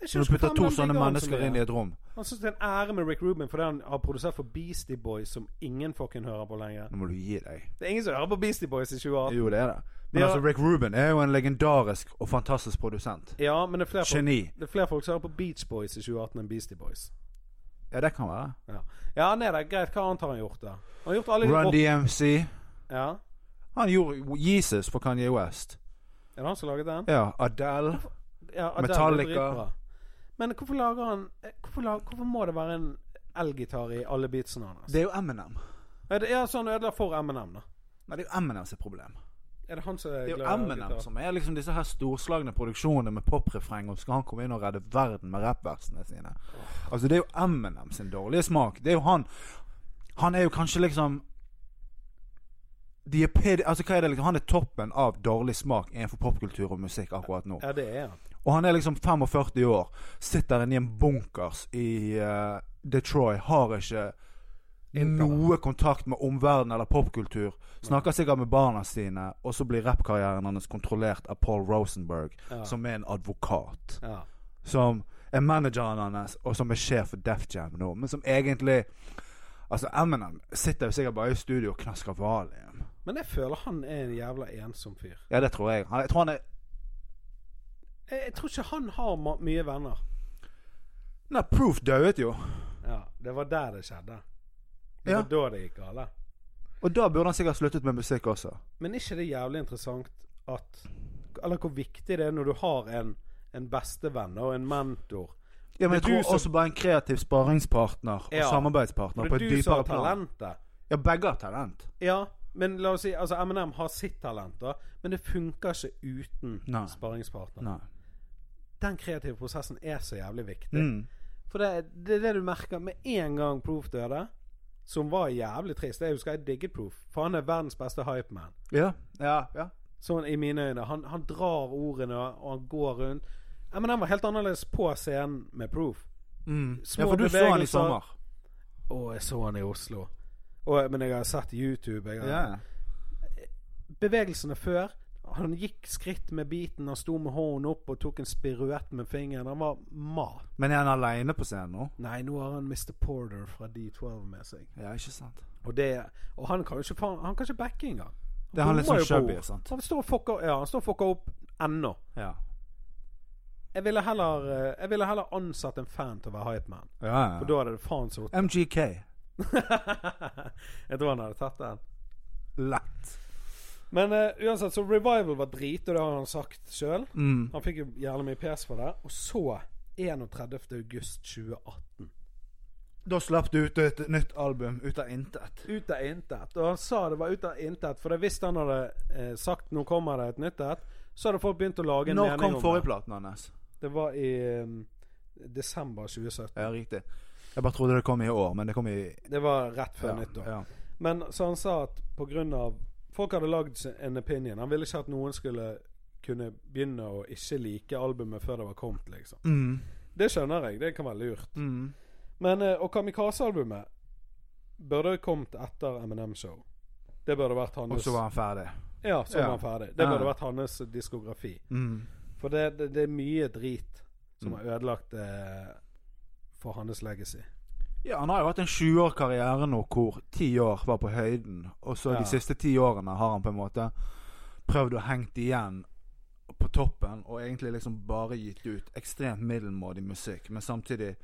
S1: Jeg
S2: Så
S1: synes
S2: du putter
S1: faen
S2: to
S1: meg
S2: sånne
S1: digger han så
S2: mennesker
S1: mye.
S2: inn i et rom
S1: Han syns det er en ære med Rick Rubin fordi han har produsert for Beastie Boys, som ingen fucking hører på lenger.
S2: Nå må du gi deg.
S1: Det er ingen som hører på Beastie Boys i 2018.
S2: Jo, det er det. Men
S1: Ja.
S2: altså, Rick Rubin er jo en legendarisk og fantastisk produsent.
S1: Ja, men det er flere folk,
S2: Geni.
S1: det er flere folk som hører på Beach Boys i 2018 enn Beastie Boys.
S2: Ja, det kan være.
S1: Ja, ja han er der. Greit, hva annet har han gjort, da? Han har gjort alle de
S2: Run
S1: rock...
S2: DMC.
S1: Ja.
S2: Han gjorde Jesus for Kanye West.
S1: Er det han som laget den?
S2: Ja, Adele.
S1: Ja, Adele er
S2: Metallica.
S1: dritbra. Men hvorfor lager han eh, Hvorfor, lag- hvorfor må det være en elgitar i alle beatsene hans?
S2: Det er jo Eminem.
S1: Er det- Ja, så han ødela for Eminem, da.
S2: Nei, det er jo Eminem sitt problem.
S1: Er det han som
S2: Det er jo
S1: glad i
S2: Eminem
S1: elgitar?
S2: som er liksom disse her storslagne produksjonene med poprefreng, og skal han komme inn og redde verden med rappversene sine? Altså, det er jo Eminem sin dårlige smak. Det er jo han Han er jo kanskje liksom de er ped, altså hva er det liksom Han er toppen av dårlig smak innenfor popkultur og musikk akkurat nå.
S1: Ja, det er han.
S2: Og han er liksom 45 år, sitter inne i en bunkers i eh, Detroit, har ikke noe kontakt med omverdenen eller popkultur. Snakker sikkert med barna sine, og så blir rappkarrieren hans kontrollert av Paul Rosenberg,
S1: Ja.
S2: som er en advokat.
S1: Ja.
S2: Som er manageren hans, og som er sjef for Def Jam nå. Men som egentlig Altså, Eminem sitter jo sikkert bare i studio og knasker valium.
S1: Men jeg føler han er en jævla ensom fyr.
S2: Ja, det tror jeg. Han, jeg tror han er
S1: Jeg, jeg tror ikke han har ma mye venner.
S2: Nei, Proof døde jo.
S1: Ja, Det var der det skjedde. Det
S2: Ja.
S1: var da det gikk galt.
S2: Og da burde han sikkert sluttet med musikk også.
S1: Men ikke det jævlig interessant at Eller hvor viktig det er når du har en, en bestevenn og en mentor.
S2: Ja, men jeg
S1: Det er
S2: tror
S1: du som-
S2: også bare en kreativ sparingspartner og
S1: Ja.
S2: samarbeidspartner
S1: Når
S2: på
S1: det
S2: et
S1: er du som
S2: dypere
S1: har
S2: plan.
S1: talentet.
S2: Ja, begge har talent.
S1: Ja, men la oss si altså Eminem har sitt talent, da. Men det funker ikke uten
S2: Nei.
S1: sparringspartner.
S2: Nei.
S1: Den kreative prosessen er så jævlig viktig.
S2: Mm.
S1: For det, det er det du merker med en gang Proof døde, som var jævlig trist. Jeg husker jeg digget Proof, for han er verdens beste hypeman.
S2: Ja, ja, ja.
S1: Sånn i mine øyne. Han, han drar ordene, og han går rundt. Ja, men han var helt annerledes på scenen med Proof.
S2: Mm.
S1: Små
S2: ja for du så han i
S1: bevegelser.
S2: sommer.
S1: Å, jeg så han i Oslo. Å, men jeg har sett YouTube. Jeg har...
S2: Ja.
S1: Bevegelsene før Han gikk skritt med beaten, han sto med hånden opp og tok en spiruett med fingeren. Han var mat.
S2: Men er han aleine på scenen nå?
S1: Nei, nå har han Mr. Porter fra D12 med seg.
S2: Ja, ikke sant.
S1: Og, det, og han kan jo ikke, faen- han kan ikke backe engang.
S2: Det er han litt
S1: bommer
S2: sånn
S1: jo på
S2: chubby,
S1: ord.
S2: sant?
S1: Han står og fucker, ja, han står og fucker opp ennå.
S2: Ja.
S1: Jeg ville heller, eh, jeg ville heller ansatt en fan til å være hypeman.
S2: ja,
S1: For
S2: ja.
S1: da hadde det faen så
S2: MGK.
S1: Jeg tror han hadde tatt den.
S2: Lett.
S1: Men eh, uansett, så Revival var drit, og det har han sagt sjøl.
S2: Mm.
S1: Han fikk jo jævlig mye pes for det. Og så 31. august 2018.
S2: Da slapp du ut et nytt album ut av intet.
S1: Ut av intet. Og han sa det var ut av intet, for det hvis han hadde eh, sagt 'nå kommer det et nytt et', så hadde folk begynt å lage en
S2: Når
S1: mening
S2: kom
S1: om det.
S2: forrige platen hans?
S1: Det var i um, desember 2017.
S2: Ja, riktig. Jeg bare trodde det kom i år, men det kom i
S1: Det var rett før
S2: ja,
S1: nyttår.
S2: ja.
S1: Men så han sa at på grunn av Folk hadde lagd seg en opinion. Han ville ikke at noen skulle kunne begynne å ikke like albumet før det var kommet, liksom.
S2: Mm.
S1: Det skjønner jeg. Det kan være lurt.
S2: Mm.
S1: Men eh, Og Kamikaze-albumet burde kommet etter Eminem Show. Det burde vært
S2: Og
S1: hans
S2: så var han ferdig.
S1: Ja, så
S2: Ja.
S1: var han ferdig. Det burde
S2: Ja.
S1: vært hans diskografi.
S2: Mm.
S1: For det, det, det er mye drit som
S2: Mm.
S1: har ødelagt eh, for hans legacy.
S2: Ja, Han har jo hatt en 20-år karriere nå hvor ti år var på høyden. Og så
S1: Ja.
S2: de siste ti årene har han på en måte prøvd å hengt igjen på toppen, og egentlig liksom bare gitt ut ekstremt middelmådig musikk. Men samtidig,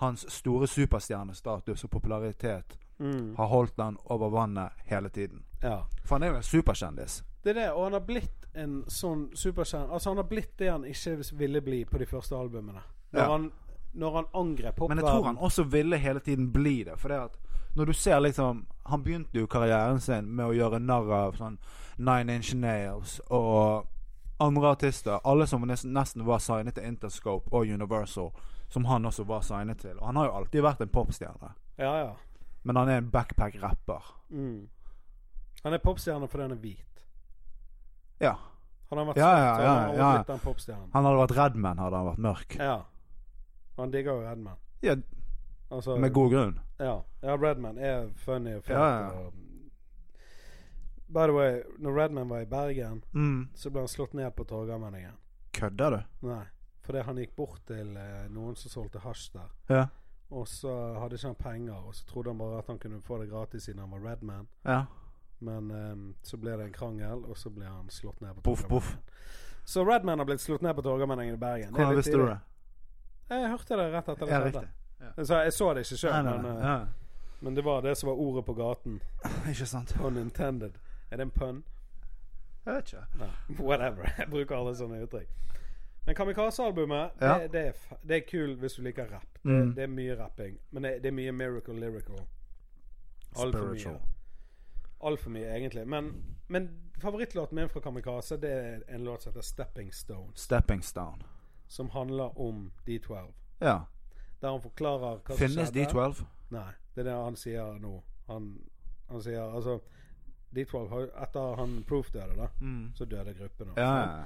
S2: hans store superstjernestatus og popularitet
S1: Mm.
S2: har holdt han over vannet hele tiden.
S1: Ja.
S2: For han er jo en superkjendis.
S1: Det er det, og han har blitt en sånn superstjerne. Altså, han har blitt det han ikke ville bli på de første albumene. Når
S2: Ja.
S1: han, når han angrep
S2: Men jeg tror
S1: popverdenen.
S2: han også ville hele tiden bli det. For det at når du ser liksom Han begynte jo karrieren sin med å gjøre narr av sånn Nine Inch Nails og andre artister. Alle som nes- nesten var signet til Interscope og Universal, som han også var signet til. Og han har jo alltid vært en popstjerne.
S1: Ja, ja.
S2: Men han er en backpack-rapper.
S1: Mm. Han er popstjerne fordi han er hvit.
S2: Ja.
S1: Han har vært
S2: Ja,
S1: svart,
S2: ja,
S1: så han har
S2: ja,
S1: også
S2: ja.
S1: blitt den popstjernen.
S2: Han hadde vært Redman hadde han vært mørk.
S1: Ja. Han digger jo Redman.
S2: Ja,
S1: Altså,
S2: Med god grunn.
S1: ja. ja, Redman er funny og fet.
S2: Ja, ja.
S1: og- By the way, når Redman var i Bergen,
S2: Mm.
S1: så ble han slått ned på Torgallmenningen.
S2: Kødder du?
S1: Nei. Fordi han gikk bort til eh, noen som solgte hasj der.
S2: Ja.
S1: Og så hadde ikke han penger, og så trodde han bare at han kunne få det gratis siden han var Redman.
S2: ja.
S1: Men ehm, så ble det en krangel, og så ble han slått ned på
S2: Poff, poff.
S1: Torgallmenningen. Så Redman har blitt slått ned på Torgallmenningen i Bergen.
S2: Hvordan
S1: litt
S2: visste du
S1: tidlig.
S2: det?
S1: Jeg hørte det rett etter det
S2: Ja,
S1: skjedde.
S2: riktig.
S1: Så jeg så det ikke sjøl,
S2: Nei, nei,
S1: men,
S2: nei.
S1: eh, men det var det som var ordet på gaten.
S2: Ja. Ikke sant?
S1: Pun intended. Er det en pun?
S2: Jeg vet ikke.
S1: Nei. Whatever. Jeg bruker alle sånne uttrykk. Men Kamikaze-albumet,
S2: Ja.
S1: det, det, er fa- det er kul hvis du liker rapp. Det,
S2: Mm.
S1: det er mye rapping. Men det, det er mye miracle lyrical. Altfor mye.
S2: Spiritual.
S1: Altfor mye, egentlig. Men, men favorittlåten min fra Kamikaze Det er en låt som heter 'Stepping Stones'.
S2: Stepping Stone.
S1: Som handler om D12.
S2: Ja.
S1: Der han forklarer hva
S2: Finnes
S1: som skjedde.
S2: D12?
S1: Nei, det er det han sier nå. Han, han sier altså D12 har Etter han Proof døde, da, så døde gruppen. også.
S2: Mm. Ja, ja,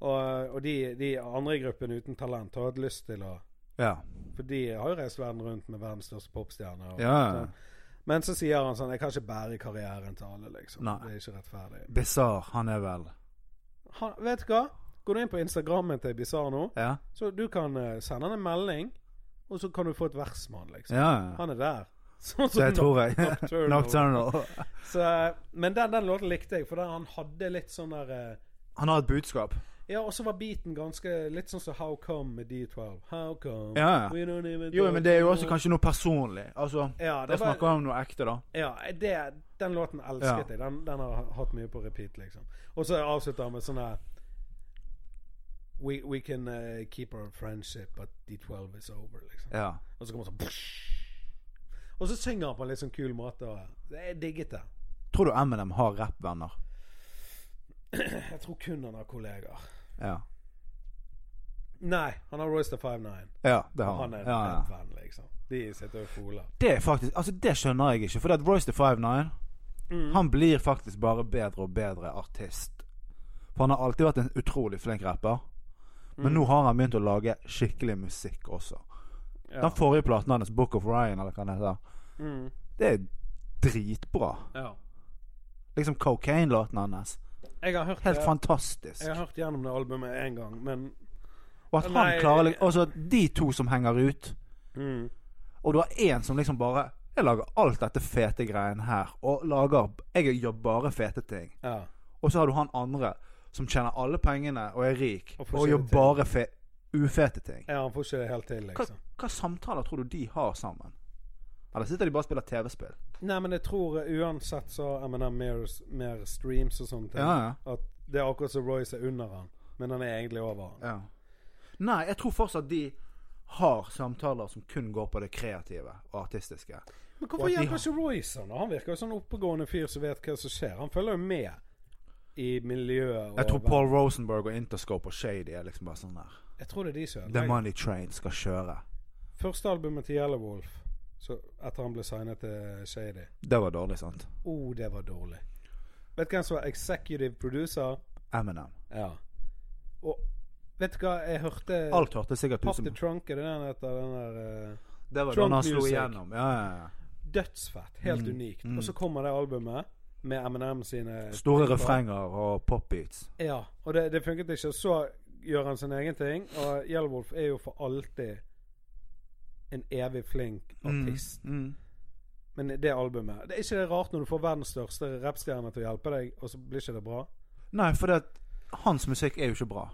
S1: Og, og de, de andre i gruppen uten talent har hatt lyst til å
S2: ja.
S1: For de har jo reist verden rundt med verdens største popstjerne. og
S2: Ja, ja.
S1: sånn. Men så sier han sånn Jeg kan ikke bære karrieren til alle, liksom.
S2: Nei.
S1: Det er ikke rettferdig.
S2: Bizarre, han er vel
S1: Han, vet du hva? Går du inn på Instagrammen til Bizarre nå,
S2: Ja,
S1: så du kan eh, sende han en melding, og så kan du få et vers med han,
S2: ja.
S1: liksom.
S2: ja.
S1: Han er der. Sånn som
S2: Det tror jeg.
S1: Nocturnal.
S2: Nocturnal.
S1: Så, eh, men den, den låten likte jeg, for der han hadde litt sånn der eh,
S2: Han har et budskap.
S1: Ja, og så var beaten ganske litt sånn som How Come med D12. How Come
S2: Ja, ja.
S1: we don't even
S2: Jo,
S1: talk
S2: men det er jo også
S1: anymore.
S2: kanskje noe personlig. Altså,
S1: Ja,
S2: da
S1: det var,
S2: snakker han om noe ekte, da.
S1: ja det, den låten elsket jeg. Den, den har jeg hatt mye på repeat, liksom. Og så avslutter han med sånn her We, we can eh, keep our friendship, but D12 is over, liksom.
S2: Ja.
S1: Og så kommer han sånn Og så synger han på en litt sånn kul måte. Og jeg digget det.
S2: Tror du Eminem har rappvenner?
S1: Jeg tror kun han har kolleger.
S2: Ja.
S1: Nei, han har Royster 59.
S2: ja, det har
S1: Han
S2: han.
S1: er en
S2: Ja, ja.
S1: venn, liksom. De sitter og foler.
S2: Det er faktisk, altså det skjønner jeg ikke. For det at Royce the 59
S1: Mm.
S2: Han blir faktisk bare bedre og bedre artist. For han har alltid vært en utrolig flink rapper.
S1: Mm.
S2: Men nå har han begynt å lage skikkelig musikk også.
S1: Ja.
S2: Den forrige platen hans, Book of Ryan, eller hva den heter,
S1: Mm.
S2: det er dritbra.
S1: Ja.
S2: Liksom Cocaine-låten hans.
S1: Jeg har hørt
S2: Helt
S1: det.
S2: fantastisk.
S1: Jeg har hørt gjennom det albumet én gang, men
S2: Og at han
S1: Nei.
S2: klarer liksom Altså, de to som henger ut,
S1: mm.
S2: og du har én som liksom bare Jeg lager alt dette fete greiene her, og lager Jeg gjør bare fete ting.
S1: Ja.
S2: Og så har du han andre som tjener alle pengene og er rik,
S1: Og
S2: og,
S1: får ikke
S2: gjør
S1: det til.
S2: bare fe ufete ting.
S1: ja. Han får ikke det helt til,
S2: Hva,
S1: liksom.
S2: hva samtaler tror du de har sammen? Eller sitter de bare og spiller TV-spill?
S1: Nei, men jeg tror eh, uansett så har Eminem mer, mer streams og sånne ting.
S2: Ja, ja.
S1: At det er akkurat som Royce er under han, men han er egentlig over han.
S2: Ja. Nei, jeg tror fortsatt de har samtaler som kun går på det kreative og artistiske.
S1: Men
S2: Og
S1: hvorfor
S2: at de
S1: hjelper
S2: har-
S1: ikke Royce han? da? Han virker jo sånn oppegående fyr som vet hva som skjer. Han følger jo med i miljøet. og-
S2: Jeg tror Paul Rosenberg og Interscope og Shady er liksom bare sånn der
S1: Jeg tror det er de som
S2: The
S1: ødelegger.
S2: Money Train skal kjøre.
S1: Første albumet til Yellow Wolf, så etter han ble signet til Shady
S2: Det var dårlig, sant?
S1: Oh, det var dårlig. Vet du hvem som var executive producer?
S2: Eminem.
S1: Ja. Og vet du hva, jeg hørte
S2: Alt hørtes sikkert ut
S1: Eh, Pop
S2: som
S1: the Trunk, er det den heter? Den der eh,
S2: Det var
S1: Trump
S2: da han slo
S1: music.
S2: igjennom. Ja, ja, ja.
S1: Dødsfett. Helt
S2: Mm.
S1: unikt. Og så kommer det albumet med M&M sine
S2: Store refrenger og popbeats.
S1: Ja. Og det, det funket ikke. Så gjør han sin egen ting, og Yellow Wolf er jo for alltid en evig flink artist.
S2: Mm.
S1: Men det albumet Det er ikke det rart når du får verdens største rappstjerne til å hjelpe deg, og så blir ikke det bra?
S2: Nei, for det at hans musikk er jo ikke bra.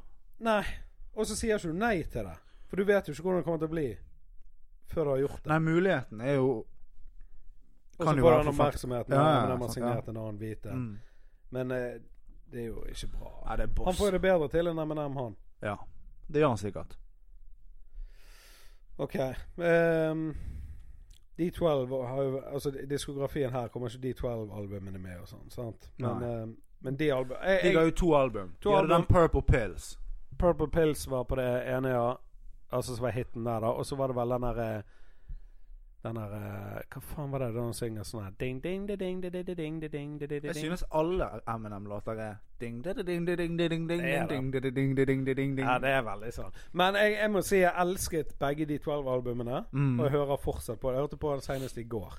S1: Nei. Og så sier ikke du nei til det. For du vet jo ikke hvordan det kommer til å bli før du har gjort det.
S2: Nei, muligheten er jo
S1: Og
S2: kan
S1: så
S2: jo
S1: får
S2: være
S1: han
S2: for fakt-
S1: oppmerksomhet
S2: Ja,
S1: når
S2: ja,
S1: han har
S2: sant,
S1: signert en annen hvit en.
S2: mm.
S1: Men eh, det er jo ikke bra.
S2: Nei, det er
S1: Han
S2: boss.
S1: får jo det bedre til enn M&M, han.
S2: Ja. Det gjør han sikkert.
S1: Ok. ehm, D12 har jo Altså diskografien her kommer ikke D12-albumene med og sånn, sant? Men,
S2: Nei.
S1: ehm, men de album jeg,
S2: De ga
S1: jeg,
S2: jo to album.
S1: To
S2: de hadde
S1: album.
S2: den Purple Pills.
S1: Purple Pills var på det ene, ja. Altså som var hiten der, da. Og så var det vel den derre den der eh, Hva faen var det da han synger sånn her ding, ding, ding, ding, ding, ding, ding, ding, ding, ding,
S2: Jeg
S1: ding.
S2: synes alle Eminem-låter er ding ding ding ding ding ding ding ding
S1: Det er det.
S2: ding ding ding ding ding ding
S1: Ja, det er veldig sånn. Men jeg, jeg må si jeg elsket begge de tolv albumene.
S2: Mm.
S1: Og jeg hører fortsatt på det. Jeg hørte på det senest i går.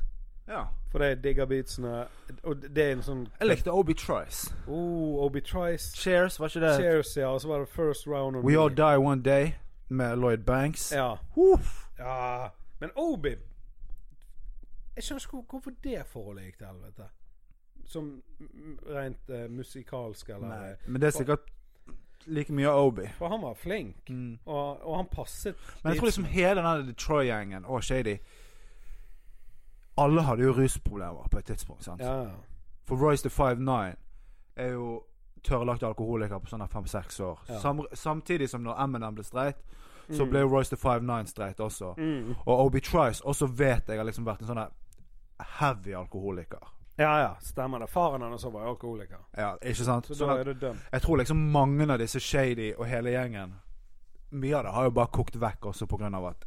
S2: Ja.
S1: For jeg digger beatsene. Og det er en sånn
S2: Jeg likte Obi Trice.
S1: Oh, Obi Trice.
S2: Cheers, var ikke det?
S1: Cheers, ja. Og så var det First Round on
S2: We
S1: Me.
S2: All Die One Day med Lloyd Banks.
S1: Ja.
S2: Uff.
S1: ja. Men Obi Jeg skjønner ikke hvor- hvorfor det forholdet gikk til helvete. Som mm, rent eh, musikalsk, eller
S2: Nei, men det er sikkert like mye Obi.
S1: For han var flink, og, og han passet.
S2: Mm. Men jeg tror liksom hele den Detroit-gjengen og Shady Alle hadde jo rusproblemer på et tidspunkt. sant?
S1: Ja, ja.
S2: For Royce the 5'9 er jo tørrlagt alkoholiker på sånne fem-seks år.
S1: Ja.
S2: Sam, samtidig som når Eminem ble streit, så ble jo Royce the 5'9 streit også.
S1: Mm.
S2: Og Obi Trice også vet jeg har liksom vært en sånn her heavy alkoholiker.
S1: ja, ja. Stemmer det. Faren hans også var jo alkoholiker.
S2: Ja, ikke sant?
S1: Så
S2: Sånn
S1: da
S2: at-
S1: er det dømt.
S2: Jeg tror liksom mange av disse shady og hele gjengen Mye av det har jo bare kokt vekk også pga. at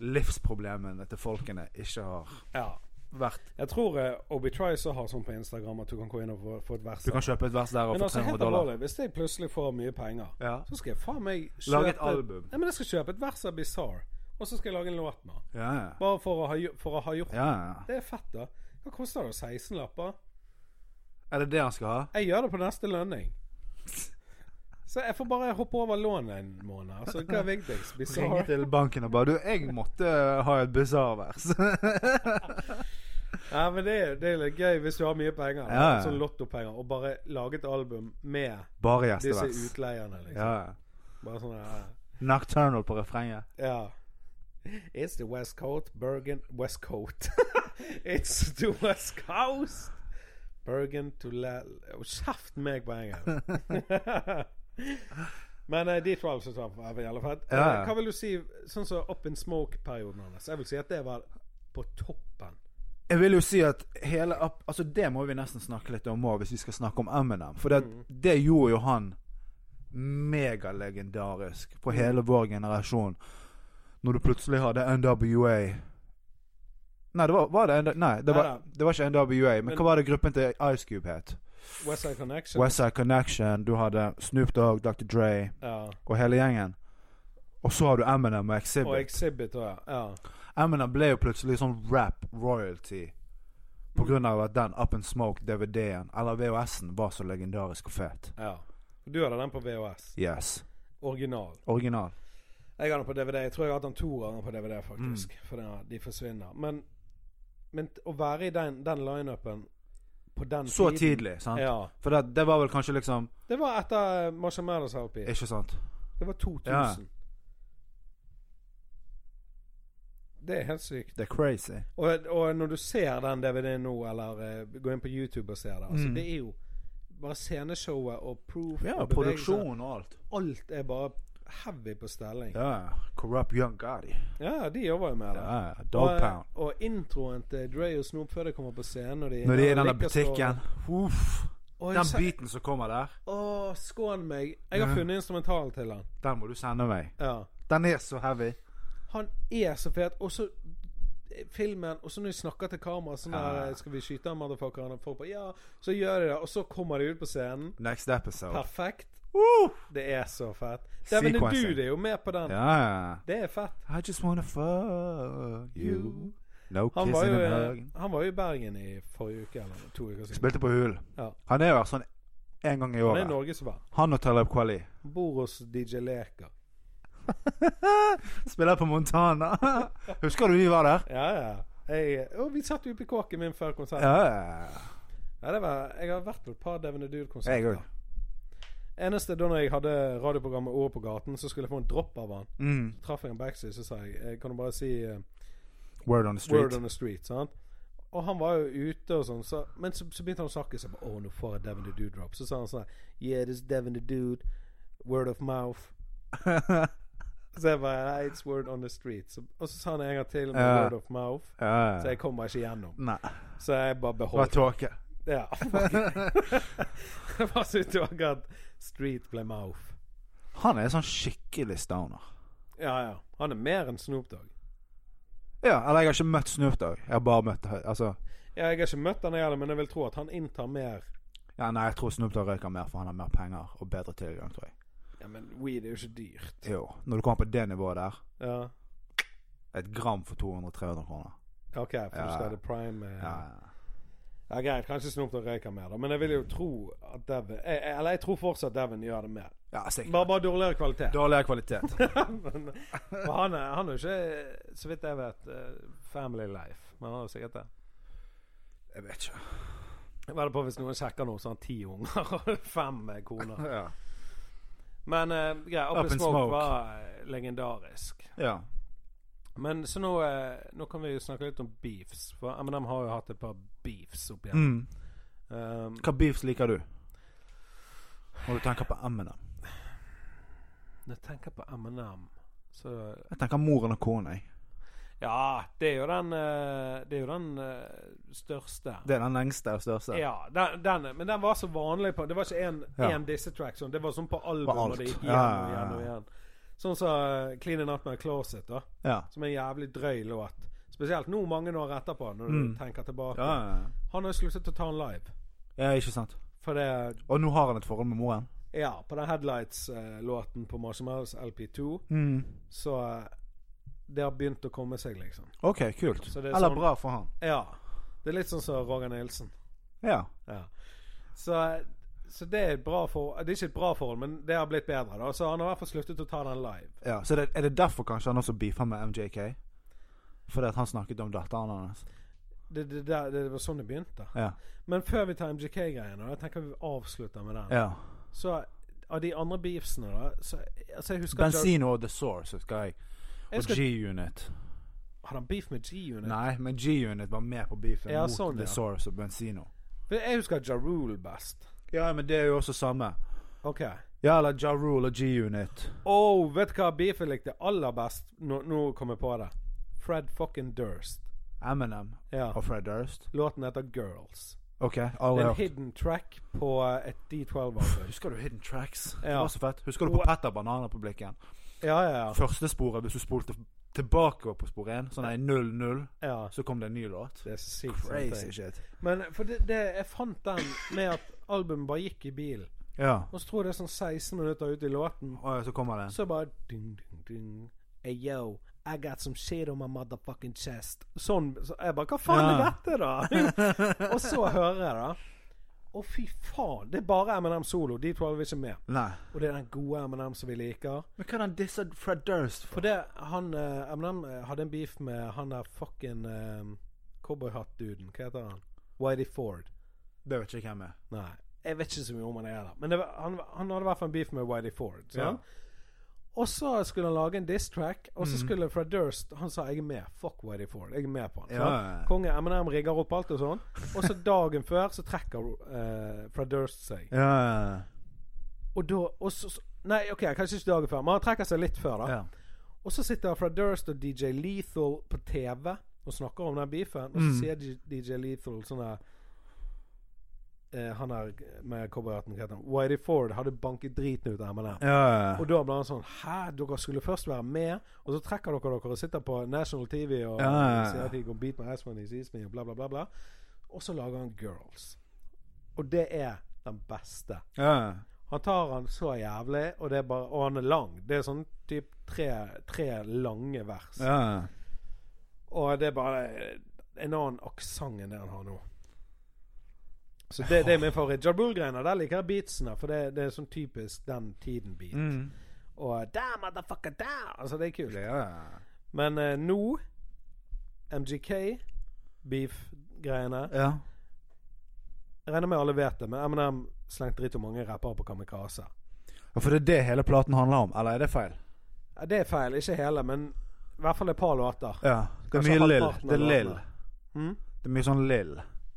S2: livsproblemene til folkene ikke har
S1: Ja.
S2: vært
S1: Jeg tror eh, Obi Trice har sånn på Instagram at du kan gå inn og få, få et vers.
S2: Du kan kjøpe et vers der og
S1: Men
S2: få
S1: altså,
S2: 300
S1: helt
S2: dollar.
S1: alvorlig, hvis jeg plutselig får mye penger,
S2: Ja.
S1: så skal jeg faen meg kjøpe
S2: Lage et album.
S1: Nei, men jeg skal kjøpe et vers av Bizarre, og så skal jeg lage en låt med han.
S2: Ja, ja.
S1: Bare for å ha, gjo- for å ha gjort
S2: ja, ja.
S1: Det er fett, da. Hva koster det? 16 lapper?
S2: Er det det han skal ha?
S1: Jeg gjør det på neste lønning. Så jeg får bare hoppe over lånet en måned. Altså, hva er viktigst?
S2: Ringe
S1: Bizarre?
S2: til banken og bare Du, jeg måtte eh, ha et bisarr-vers.
S1: Ja, men det er, det er litt gøy hvis du har mye penger, da.
S2: Ja, ja.
S1: sånn lottopenger, og bare lage et album med
S2: bare
S1: disse
S2: gjestevers.
S1: utleierne,
S2: Ja,
S1: liksom.
S2: ja.
S1: Bare sånn ja.
S2: Nocturnal på refrenget.
S1: Ja. It's the West Coast, Bergen West Coast. It's the West Coast, Bergen to la... Å, Kjeft meg på engelsk! Men eh, de 12 som traff, var jævlig fett. Eh,
S2: Ja, ja.
S1: Hva vil du si sånn som Up in Smoke-perioden hans? Jeg vil si at det var på toppen.
S2: Jeg vil jo si at hele app- Altså Det må vi nesten snakke litt om òg, hvis vi skal snakke om Eminem. For det,
S1: Mm.
S2: det gjorde jo han megalegendarisk
S1: Mm.
S2: på hele vår generasjon. Når du plutselig hadde NWA Nei, det var, var det NWA? Nei, det var,
S1: Neida.
S2: det var ikke NWA. Men,
S1: Men-
S2: hva var det gruppen til Ice Cube het?
S1: Westside Connection.
S2: Westside Connection. Du hadde Snoop Dogg, Dr. Dre
S1: Ja.
S2: og hele gjengen. Og så har du Eminem og Exhibit.
S1: Og Exhibit òg, ja.
S2: Eminem ble jo plutselig sånn rap royalty. På grunn av at den Up and Smoke-DVD-en, eller VHS-en, var så legendarisk og fet.
S1: ja. Du hadde den på VHS.
S2: Yes.
S1: Original.
S2: Original.
S1: Jeg har den på DVD. Jeg tror jeg har hatt den to ganger på DVD, faktisk.
S2: Mm.
S1: For den, de forsvinner. Men, men t- å være i den, den lineupen på den
S2: Så
S1: tiden
S2: tidlig, sant?
S1: Ja.
S2: For det, det var vel kanskje liksom
S1: Det var etter eh, Marshall Mathers LP.
S2: Ikke sant?
S1: Det var 2000.
S2: Ja.
S1: Det er helt sykt.
S2: Det er crazy.
S1: Og, og når du ser den DVD-en nå, eller eh, går inn på YouTube og ser det, altså,
S2: Mm.
S1: det er jo bare sceneshowet og proof
S2: Ja,
S1: og bevegelser.
S2: produksjon og alt.
S1: Alt er bare heavy på stelling. Ja,
S2: Ja. Corrupt Young Gotti.
S1: de jobber jo med det.
S2: Ja, Dog Pound.
S1: Og, og introen til Dre og Snoop før de kommer på scenen og de,
S2: Når de er i den der
S1: like står-
S2: butikken Uff.
S1: Å, jeg
S2: Den
S1: sa-
S2: beaten som kommer der,
S1: Å, skån meg. Jeg har
S2: Ja.
S1: funnet instrumentalen til han.
S2: den må du sende meg.
S1: Ja.
S2: Den er så heavy.
S1: Han er så fet. Og så eh, filmen, og så når de snakker til kamera sånn
S2: Ja.
S1: der, 'Skal vi skyte han, motherfuckeren?' Og folk bare 'Ja.' Så gjør de det, og så kommer de ut på scenen.
S2: Next episode.
S1: Perfekt.
S2: Uh!
S1: Det er så fett. Dæven,
S2: Sequencing.
S1: du er jo med på den.
S2: Ja.
S1: Det er fett.
S2: I just wanna fuck you. No
S1: Han var,
S2: kissing
S1: jo,
S2: and
S1: eh,
S2: hugging.
S1: han var jo i Bergen i forrige uke, eller to uker siden.
S2: Spilte på hul.
S1: Ja.
S2: Han er jo her sånn en gang i
S1: Han er
S2: året.
S1: norgesvenn.
S2: Han og Taleb Kweli.
S1: Han bor hos DJ Leka.
S2: Spiller på Montana. Husker du vi var der?
S1: Ja, ja. Jeg, og vi satt jo oppe i kåken min før konserten.
S2: Ja.
S1: Ja, det var, jeg har vært på et par Devin Dude-konserter.
S2: Jeg òg.
S1: Eneste da når jeg hadde radioprogrammet Ord på gaten, så skulle jeg få en drop av han.
S2: Mm.
S1: Så traff jeg han backstage, så sa jeg eh, Kan du bare si eh,
S2: Word on the street.
S1: Word on the street? Sant? Og han var jo ute og sånn, så, men så, så begynte han å snakke. Så jeg bare, Å, nå får jeg Devin the Dude-drop. Så sa han sånn Yeah, this is Devin the Dude. Word of mouth. Så jeg bare Nei, it's word on the street. Så, og så sa han en gang til med
S2: Ja.
S1: word of mouth.
S2: ja, ja.
S1: Så jeg kom meg ikke gjennom.
S2: Nei.
S1: Så jeg bare
S2: Det var
S1: beholdt
S2: tåke.
S1: Ja. Jeg bare syntes det var gøy at street ble mouth.
S2: Han er sånn skikkelig stoner.
S1: Ja, ja. Han er mer enn Snoop Dogg.
S2: Ja, eller jeg har ikke møtt Snoop Dogg. Jeg har bare møtt Altså
S1: Ja, jeg har ikke møtt han heller, men jeg vil tro at han inntar mer
S2: ja, Nei, jeg tror Snoop Dogg røyker mer, for han har mer penger og bedre tilgang, tror jeg.
S1: Ja, men weed er jo ikke dyrt.
S2: Jo, når du kommer på det nivået der,
S1: Ja.
S2: et gram for 200-300 kroner.
S1: OK, for du
S2: Ja.
S1: skal ha det prime eh.
S2: Ja,
S1: ja.
S2: ja.
S1: Greit, kanskje Snoop Dogg røyker mer, da. Men jeg vil jo tro at Devin eh, eh, Eller jeg tror fortsatt Devin gjør det mer.
S2: ja sikkert.
S1: Bare, bare dårligere kvalitet.
S2: Dårligere kvalitet.
S1: men, for han er, han er jo ikke, så vidt jeg vet, eh, family life. Men han har jo sikkert det.
S2: Jeg vet ikke.
S1: Jeg vedder på hvis noen sjekker nå, så har han ti unger og fem eh, koner.
S2: Ja.
S1: Men uh, greit, Up,
S2: Up
S1: in
S2: in
S1: Smoke,
S2: Smoke.
S1: var eh, legendarisk.
S2: ja.
S1: Men så nå, eh, nå kan vi jo snakke litt om beefs. For M&M har jo hatt et par beefs opp igjen.
S2: Mm.
S1: Um,
S2: Hva beefs liker du? Når du tenker på Eminem.
S1: når jeg tenker på M&M, så
S2: Jeg tenker moren og kona. jeg.
S1: Ja, det er jo den eh, Det er jo den eh, største.
S2: Det er den lengste og største.
S1: Ja, den, den, men den var så vanlig på Det var ikke én
S2: Ja.
S1: ja. disse tracks. Sånn. Det var sånn på
S2: På
S1: album,
S2: alt.
S1: og det gikk igjen
S2: Ja,
S1: og
S2: ja, ja.
S1: igjen og igjen. Sånn som eh, Clean and Up My Closet, da.
S2: Ja.
S1: Som er en jævlig drøy låt. Spesielt nå mange år etterpå, når du
S2: Mm.
S1: tenker tilbake.
S2: Ja, ja, ja.
S1: Han har jo sluttet å ta den live.
S2: ja, ikke sant.
S1: For det
S2: Og nå har han et forhold med moren.
S1: Ja, på den Headlights-låten på Marshmallows LP2,
S2: Mm.
S1: så eh, det har begynt å komme seg, liksom.
S2: OK, kult.
S1: Så det er
S2: Eller
S1: sånn-
S2: bra for han.
S1: Ja. Det er litt sånn som Roger Nilsen.
S2: Ja.
S1: Ja. Så, eh, så det er et bra forhold Det er ikke et bra forhold, men det har blitt bedre, da. Så han har i hvert fall sluttet å ta den live.
S2: ja. Så det, er det derfor kanskje han også beefa med MJK? Fordi at han snakket om datteren hans?
S1: Det, det, det, det var sånn det begynte.
S2: Ja.
S1: Men før vi tar MJK-greiene, og jeg tenker vi avslutter med den,
S2: ja.
S1: så eh, av de andre beefsene, da så, altså, jeg husker at
S2: Benzino og The Source husker jeg.
S1: Jeg
S2: Og
S1: husker-
S2: G-Unit.
S1: Hadde han beef med G-Unit?
S2: Nei, men G-Unit var med på beefen
S1: Ja,
S2: mot
S1: sånn,
S2: The
S1: ja.
S2: Source og Benzino.
S1: For Jeg husker Ja Rule best.
S2: Ja, men det er jo også samme.
S1: Ok.
S2: Ja, eller Ja Rule og G-Unit.
S1: Oh, vet du hva beefet likte aller best? Nå, nå kom jeg på det. Fred fucking Durst.
S2: Eminem
S1: Ja.
S2: og Fred Durst.
S1: Låten heter Girls.
S2: OK,
S1: Det
S2: aldri
S1: er en
S2: hørt.
S1: hidden track på eh, et D12-album.
S2: Husker du Hidden Tracks?
S1: Ja.
S2: Det var så fett. Husker du på
S1: Wow.
S2: Petter Banana-publikken?
S1: Ja, ja,
S2: Første sporet, hvis du spolte tilbake på spor 1, sånn nei, 0-0,
S1: ja. ja.
S2: så kom det en ny låt.
S1: Det er sykt. sånn
S2: Crazy
S1: ting.
S2: shit.
S1: Men for det, det, jeg fant den med at albumet bare gikk i bilen.
S2: Ja.
S1: Og så tror jeg det er sånn 16 minutter ut i låten,
S2: Og så kommer det en.
S1: så bare ding, ding, ding. Hey, yo. I got some shit on my motherfucking chest. Sånn. Så jeg bare Hva faen
S2: Ja.
S1: er dette, da? og så hører jeg det. Å, fy faen. Det er bare M&M solo. De to er vi ikke med.
S2: Nei.
S1: Og det er den gode M&M som vi liker.
S2: Men hva er den dissa Fred Durst for?
S1: For det, han eh, M&M hadde en beef med han der fucking eh, cowboyhatt-duden. Hva heter han? Whitey Ford.
S2: Det vet ikke jeg hvem er.
S1: Nei. Jeg vet ikke så mye om han er der. Men det var, han, han hadde i hvert fall en beef med Whitey Ford.
S2: Ja. Mhm.
S1: sant? Og så skulle han lage en diss-track, og så skulle Fred Durst Han sa 'jeg er med'. Fuck Whitey Ford. Jeg er med på han.
S2: Ja,
S1: sant?
S2: ja, ja.
S1: Konge M&M rigger opp alt og sånn. Og så dagen før så trekker eh, Fred Durst seg.
S2: Ja, ja,
S1: Og da og så, så- Nei, OK, kanskje ikke dagen før, men han trekker seg litt før, da.
S2: ja. ja.
S1: Og så sitter Fred Durst og DJ Lethal på TV og snakker om den beefen, og så
S2: Mm.
S1: sier D- DJ Lethal sånn her eh, Han er med cowboyhatten, hva heter han? Whitey Ford hadde banket driten ut av M&M.
S2: ja, ja.
S1: Og da ble han sånn Hæ, dere skulle først være med, og så trekker dere dere og sitter på National TV og
S2: Ja, ja, ja.
S1: sier at de går beat my ass when he sees me, og bla, bla, bla, bla. Og så lager han Girls. Og det er den beste.
S2: ja. ja.
S1: Han tar han så jævlig, og, det er bare, og han er lang. Det er sånn typ tre, tre lange vers.
S2: ja. ja.
S1: Og det er bare en annen aksent enn det han har nå. Så det, det er min favoritt. Jabul-greiene, der liker jeg beatsene, for det, det er sånn typisk den tiden-beat.
S2: Mm.
S1: Og der, motherfucker, der! Altså, det er kult.
S2: Ja, ja.
S1: Men eh, nå MGK, beef-greiene
S2: ja.
S1: Jeg regner med alle vet det, men M&M slengte dritt om mange rappere på kamikaze.
S2: Ja, For det er det hele platen handler om, eller er det feil?
S1: Ja, Det er feil. Ikke hele, men i hvert fall et par låter.
S2: Ja. Det er
S1: Kanskje
S2: mye lill.
S1: halvparten
S2: Det er
S1: av
S2: lill.
S1: låtene. Hm?
S2: Det er mye sånn lill.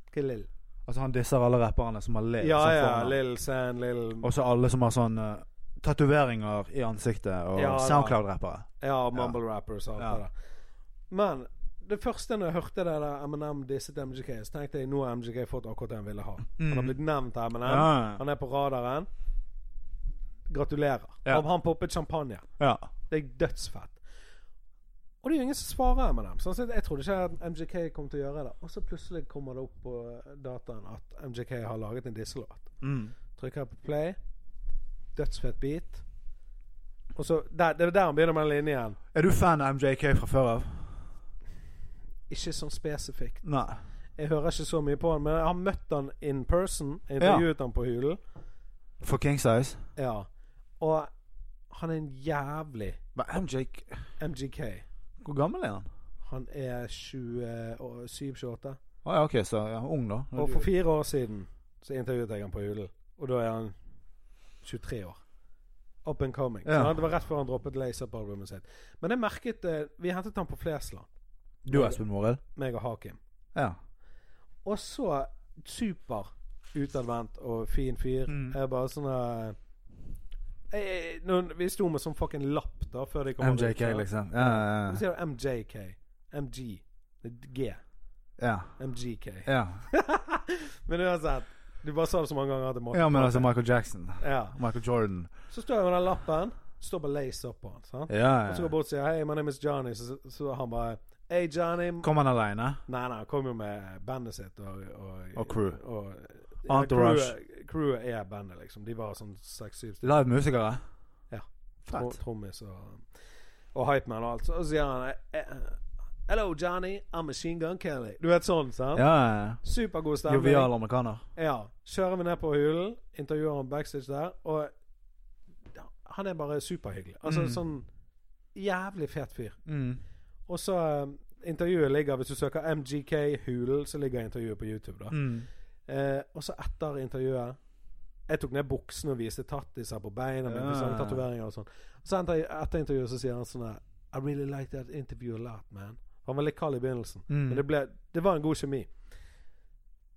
S1: Ikke Lill.
S2: Altså han disser alle rapperne som har lill.
S1: Ja
S2: sånn
S1: ja,
S2: foran.
S1: Lill Sand, Lill
S2: Og så alle som har sånn eh, tatoveringer i ansiktet, og
S1: Ja, ja.
S2: Soundcloud-rappere.
S1: Ja, Mumble Rappers og alt
S2: Ja.
S1: det der. Men det første når jeg hørte det der Eminem disset MGK, så tenkte jeg nå har MGK fått akkurat det han ville ha. Han har blitt nevnt av Eminem.
S2: Mm. Ja, ja.
S1: Han er på radaren. Gratulerer.
S2: Ja.
S1: Han, han poppet champagne.
S2: Ja.
S1: Det er dødsfett. Og det er jo ingen som svarer Eminem. Sånn sett, jeg trodde ikke at MGK kom til å gjøre det. Og så plutselig kommer det opp på dataen at MGK har laget en disselåt.
S2: Mm.
S1: Trykker jeg på play. Dødsfett beat. Og så der, Det er der han begynner med den linjen.
S2: Er du fan av MJK fra før av?
S1: Ikke sånn spesifikt.
S2: Nei.
S1: Jeg hører ikke så mye på han, men jeg har møtt han in person. Jeg intervjuet han på Hulen.
S2: For King Size?
S1: Ja. Og han er en jævlig
S2: Men MJK
S1: MGK.
S2: Hvor gammel er han?
S1: Han er 27-28.
S2: Å ja, OK, så ja, ung, da.
S1: Og for fire år siden så intervjuet jeg han på Hulen. Og da er han 23 år. Up and coming.
S2: Ja.
S1: Så han- det var rett før han droppet Laser på albumet sitt. Men jeg merket eh, Vi hentet han på Flesland,
S2: Du og Espen Morild?
S1: meg og Hakim.
S2: Ja.
S1: Og så super utadvendt og fin fyr.
S2: Mm.
S1: Jeg er bare sånn eh, jeg, jeg, når Vi sto med sånn fucking lapp da før de kom over ut,
S2: MJK,
S1: ja.
S2: liksom. Ja,
S1: Så
S2: ja, ja.
S1: sier du MJK. MG. Det er G.
S2: ja.
S1: MGK.
S2: ja.
S1: Men uansett. Du bare sa det så mange ganger at det måtte
S2: ja men altså Michael Jackson.
S1: ja.
S2: Michael Jordan.
S1: Så står jeg med den lappen. Står bare lace opp på den. Sant?
S2: Ja,
S1: Og så går jeg
S2: ja.
S1: bort og sier 'Hei, my name is Johnny'. Så, så han bare 'Hey, Johnny'.
S2: Kom han aleine?
S1: Nei, nei, han kom jo med bandet sitt og Og,
S2: Og crew.
S1: og-
S2: Entourage.
S1: Ja, crewet- Crewet er bandet, liksom. De var sånn seks-syv stykker.
S2: Live musikere?
S1: Ja. Tro-
S2: Fett.
S1: Trommis og, og hypeman og alt. Så- Og så sier han eh, Hello, Johnny. I'm Machine Gun Kelly. Du vet sånn, sant?
S2: Ja, ja.
S1: Supergod
S2: ja.
S1: stemning.
S2: Jovial amerikaner.
S1: Ja. Kjører vi ned på hulen, intervjuer han backstage der, og han er bare superhyggelig. Altså
S2: Mm.
S1: sånn jævlig fet fyr.
S2: Mm.
S1: Og så eh, Intervjuet ligger, hvis du søker MGK Hulen, så ligger intervjuet på YouTube. da
S2: Mm.
S1: eh, Og så etter intervjuet Jeg tok ned buksene og viste tattiser på beina.
S2: Ja.
S1: Ja. Tatoveringer og sånn. Så etter, etter intervjuet så sier han sånn her, I really like that interview a lot, man. Han var litt kald i begynnelsen,
S2: Mm.
S1: men det, ble, det var en god kjemi.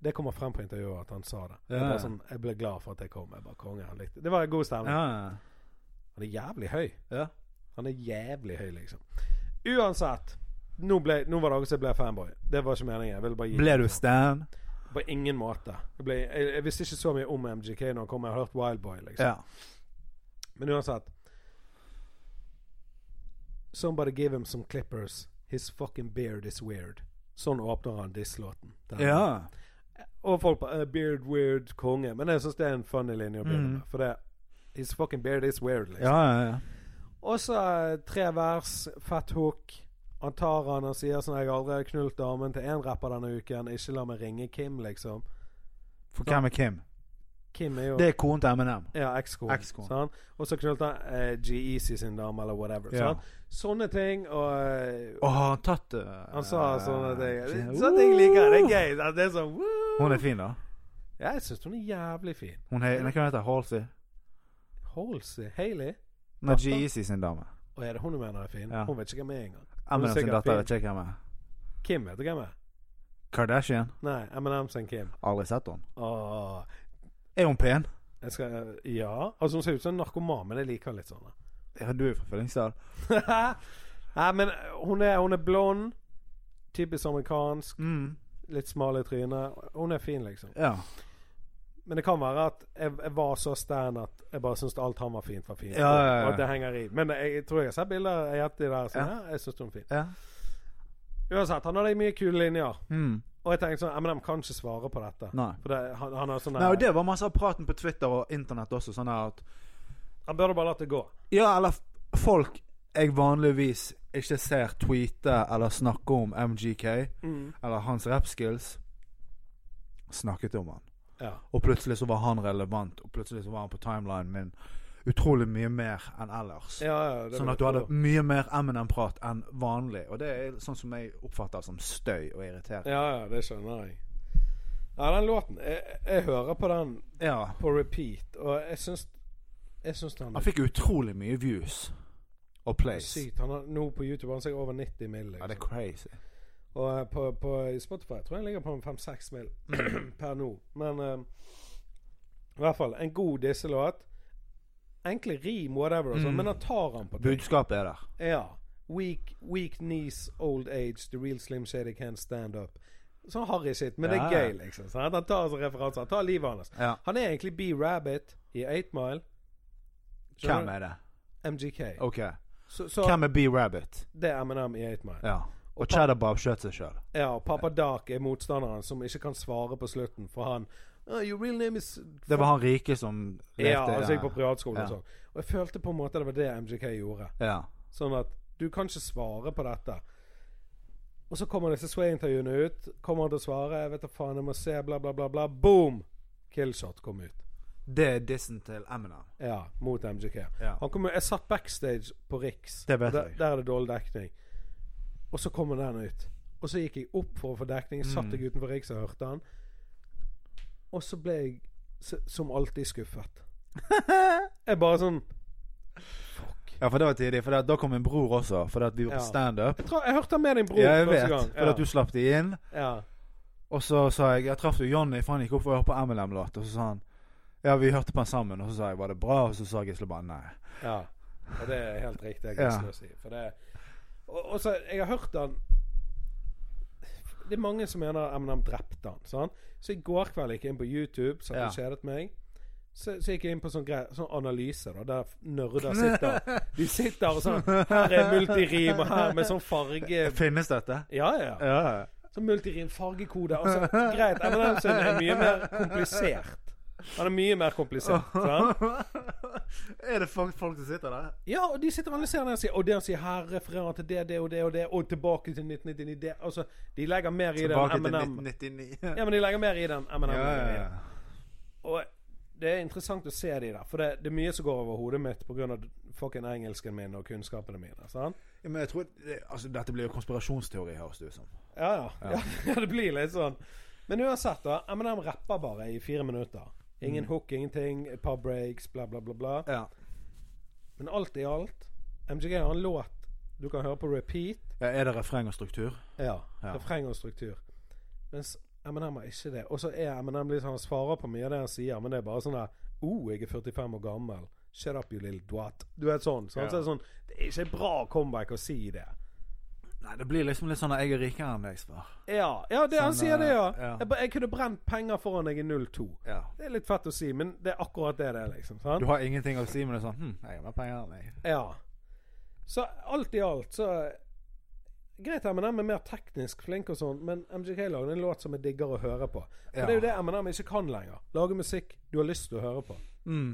S1: Det kommer frem på intervjuet at han sa det. Jeg,
S2: Ja.
S1: bare sånn, jeg ble glad for at jeg kom. Jeg bare konge, han likte Det var en god stemning.
S2: Ja, ja.
S1: Han er jævlig høy.
S2: Ja.
S1: Han er jævlig høy, liksom. Uansett. Nå, ble, nå var det noen som ble fanboy. Det var ikke meningen. Jeg ville bare gi
S2: Ble du Stan?
S1: På ingen måte. Jeg, ble, jeg, jeg visste ikke så mye om MGK når han kom. Jeg har hørt Wild Boy, liksom.
S2: Ja.
S1: Men uansett Somebody give him some clippers. His fucking beard is weird. Sånn åpner han diss-låten. Den-
S2: Ja.
S1: Og folk bare eh, Beard weird konge. Men jeg syns det er en funny linje å begynne
S2: Mm.
S1: med. For det His fucking beard is weird, liksom.
S2: Ja, ja, ja.
S1: Og så eh, tre vers, fett hook. Han tar han og sier sånn 'Jeg har aldri knult damen til én rapper denne uken. Ikke la meg ringe Kim', liksom.
S2: For hvem er Kim?
S1: Kim er jo
S2: Det er konen til Eminem.
S1: Ja, ekskonen.
S2: Ekskonen.
S1: sant? Og så knulte han eh, G-Eazy sin dame, eller whatever.
S2: Ja.
S1: sant? Sånne ting. Og eh,
S2: Og har han tatt eh,
S1: han sa sånne ting.
S2: eh,
S1: Sånne ting liker jeg. Det er gøy. sant? Det er sånn woo!
S2: Hun er fin, da.
S1: Ja, jeg syns hun er jævlig fin.
S2: Hun er, nei, hva heter hun? Halsey?
S1: Halsey. Haley.
S2: Hun er G-Eazy sin dame.
S1: Og er det hun du mener er fin?
S2: Ja.
S1: Hun vet ikke hvem jeg er engang. Hun er
S2: Eminem sin
S1: sikkert
S2: datter
S1: fin.
S2: vet ikke hvem er.
S1: Kim vet du hvem er.
S2: Kardashian?
S1: Nei, M&M sin Kim.
S2: Aldri sett henne.
S1: Åh.
S2: Er hun pen?
S1: Jeg skal, ja. Altså Hun ser ut som en narkoman, men jeg liker henne litt sånn.
S2: Ja, du er fra Fyllingsdal.
S1: da. Nei, men eh, hun er, hun er blond. Typisk amerikansk.
S2: Mm.
S1: Litt smal i trynet. Hun er fin, liksom.
S2: Ja.
S1: Men det kan være at jeg, jeg var så stan at jeg bare syntes alt han var fint, var fint.
S2: Ja, ja, ja.
S1: Og at det henger i. Men jeg, jeg tror jeg har sett bilder jeg har hatt de der. Så, ja. jeg syns hun er fin.
S2: ja.
S1: Uansett, han hadde mye kule linjer.
S2: Mm.
S1: Og jeg tenkte sånn Eminem kan ikke svare på dette.
S2: Nei.
S1: For det, han, han, har sånn
S2: Nei, og
S1: der-
S2: Det var masse av praten på Twitter og internett også. Sånn her at
S1: han burde bare latt det gå.
S2: Ja, eller f- folk jeg vanligvis ikke ser tweete eller snakke om MGK, eller hans rappskills, snakket om han.
S1: Ja.
S2: Og plutselig så var han relevant, og plutselig så var han på timelinen min utrolig mye mer enn ellers.
S1: Ja, ja, det
S2: sånn
S1: vil
S2: at du
S1: jeg
S2: hadde
S1: tro.
S2: mye mer Eminem-prat enn vanlig. Og det er sånn som jeg oppfatter som støy og irriterende.
S1: Ja, ja, det skjønner jeg. Ja, den låten Jeg, jeg hører på den
S2: Ja.
S1: på repeat, og jeg syns Jeg syns han
S2: Han fikk utrolig mye views og plays.
S1: sykt. Han har, nå på YouTube har han sikkert over 90 mill.
S2: Ja, det er
S1: Liksom.
S2: crazy.
S1: Og eh, på, på Spotify tror jeg han ligger på en 5-6 mill. per nå. Men eh, i hvert fall en god disselåt. Enkle rim, whatever, og sånn,
S2: Mm.
S1: men han tar han på ting.
S2: Budskapet er der.
S1: Ja. Weak, weak knees, old age, the real slim shady can't stand up. Sånn harry shit, men det
S2: Ja.
S1: er gøy, liksom. Sant? Han tar altså referanser. Han tar livet hans.
S2: Ja.
S1: Han er egentlig B-Rabbit i 8 Mile.
S2: Hvem er det?
S1: MGK.
S2: Ok.
S1: Så, så
S2: Hvem er B-Rabbit?
S1: det er Eminem i 8 Mile.
S2: Ja. Og Cheddar Bob skjøt seg sjøl.
S1: Ja, og Papa Dark er motstanderen som ikke kan svare på slutten, for han «Oh, Your real name is
S2: Det var han rike som lekte
S1: Ja, altså jeg på privatskole
S2: Ja.
S1: og sånn. Og jeg følte på en måte det var det MGK gjorde.
S2: ja.
S1: Sånn at du kan ikke svare på dette. Og så kommer disse Sway-intervjuene ut. Kommer han til å svare? Jeg vet da faen, jeg må se, bla, bla, bla. bla Boom! Killshot kom ut.
S2: Det er dissen til Eminem.
S1: Ja, mot MGK.
S2: Ja.
S1: Han kom, jeg satt backstage på Riks.
S2: Det vet
S1: der,
S2: jeg.
S1: der er det dårlig dekning. Og så kommer den ut. Og så gikk jeg opp for å få dekning.
S2: Mm.
S1: Satt jeg utenfor Riks og hørte den. Og så ble jeg s- som alltid skuffet. Jeg bare sånn Fuck.
S2: Ja, for det var tidlig. For da- da kom min bror også, fordi at vi var på
S1: Ja.
S2: standup.
S1: Jeg, tror, jeg hørte han med din bror
S2: Ja, jeg
S1: første
S2: vet,
S1: gang.
S2: fordi at du slapp de inn.
S1: ja.
S2: Og så sa jeg Jeg traff jo Johnny, for han gikk opp for å høre på Eminem-låt. Og så sa han Ja, vi hørte på den sammen. Og så sa jeg var det bra? Og så sa Gisle bare nei.
S1: Ja, og det er helt riktig. Jeg
S2: Ja.
S1: ja. å si. For det, og, og så, jeg har hørt han Det er mange som mener Eminem drepte han. Sant? Så i går kveld gikk jeg inn på YouTube, satt og kjedet meg. Så, så gikk jeg inn på sånn, grei, sånn analyse, da, der nerder sitter. De sitter og sånn Her er multirim, og her med sånn farge
S2: Finnes dette?
S1: Ja, ja.
S2: Ja. ja.
S1: Sånn multirim, fargekode altså, Greit, Eminem sin er mye mer komplisert. Han er mye mer komplisert. Sant?
S2: er det folk, folk som sitter der?
S1: Ja, og de sitter og analyserer det og sier Og det han sier her, refererer han til det, det og det og det, og tilbake til 1999. Det, altså, de legger mer i den
S2: Tilbake til
S1: M&M
S2: 1999.
S1: Ja, men de legger mer i den M&M
S2: Ja, ja, ja.
S1: Og det er interessant å se de der, for det, det er mye som går over hodet mitt pga. fucking engelsken min og kunnskapene mine. Sant?
S2: Ja, Men jeg tror det, altså, Dette blir jo konspirasjonsteori, høres det ut som.
S1: Ja, ja. ja. det blir litt sånn. Men uansett, da. M&M rapper bare i fire minutter.
S2: Mm.
S1: Ingen hook, ingenting. Et par breaks, bla, bla, bla. bla.
S2: Ja.
S1: Men alt i alt, MGG har en låt du kan høre på repeat.
S2: ja er det refreng og struktur?
S1: Ja.
S2: Ja.
S1: Refreng og struktur. Mens Eminem har ikke det. Og så er Eminem litt sånn Han svarer på mye av det han sier, men det er bare sånn der Oh, jeg er 45 år gammel. Shut up, you little dwat. Du vet sånn. Så han
S2: Ja.
S1: sier sånn Det er ikke et bra comeback å si det.
S2: Nei, det blir liksom litt sånn at jeg er rikere enn deg, spør.
S1: Ja, ja det han
S2: Sånn,
S1: sier, det, ja.
S2: eh, ja.
S1: Jeg, ba- jeg kunne brent penger foran jeg er 02.
S2: Ja.
S1: Det er litt fett å si, men det er akkurat det det er, liksom. Sant?
S2: Du har ingenting å si, men det er sånn Hm, jeg har mer penger enn deg.
S1: Ja. Så alt i alt, så Greit, M&M er mer teknisk flink og sånn, men MGK lagde en låt som jeg digger å høre på. For
S2: Ja.
S1: det er jo det M&M ikke kan lenger. Lage musikk du har lyst til å høre på.
S2: Mm.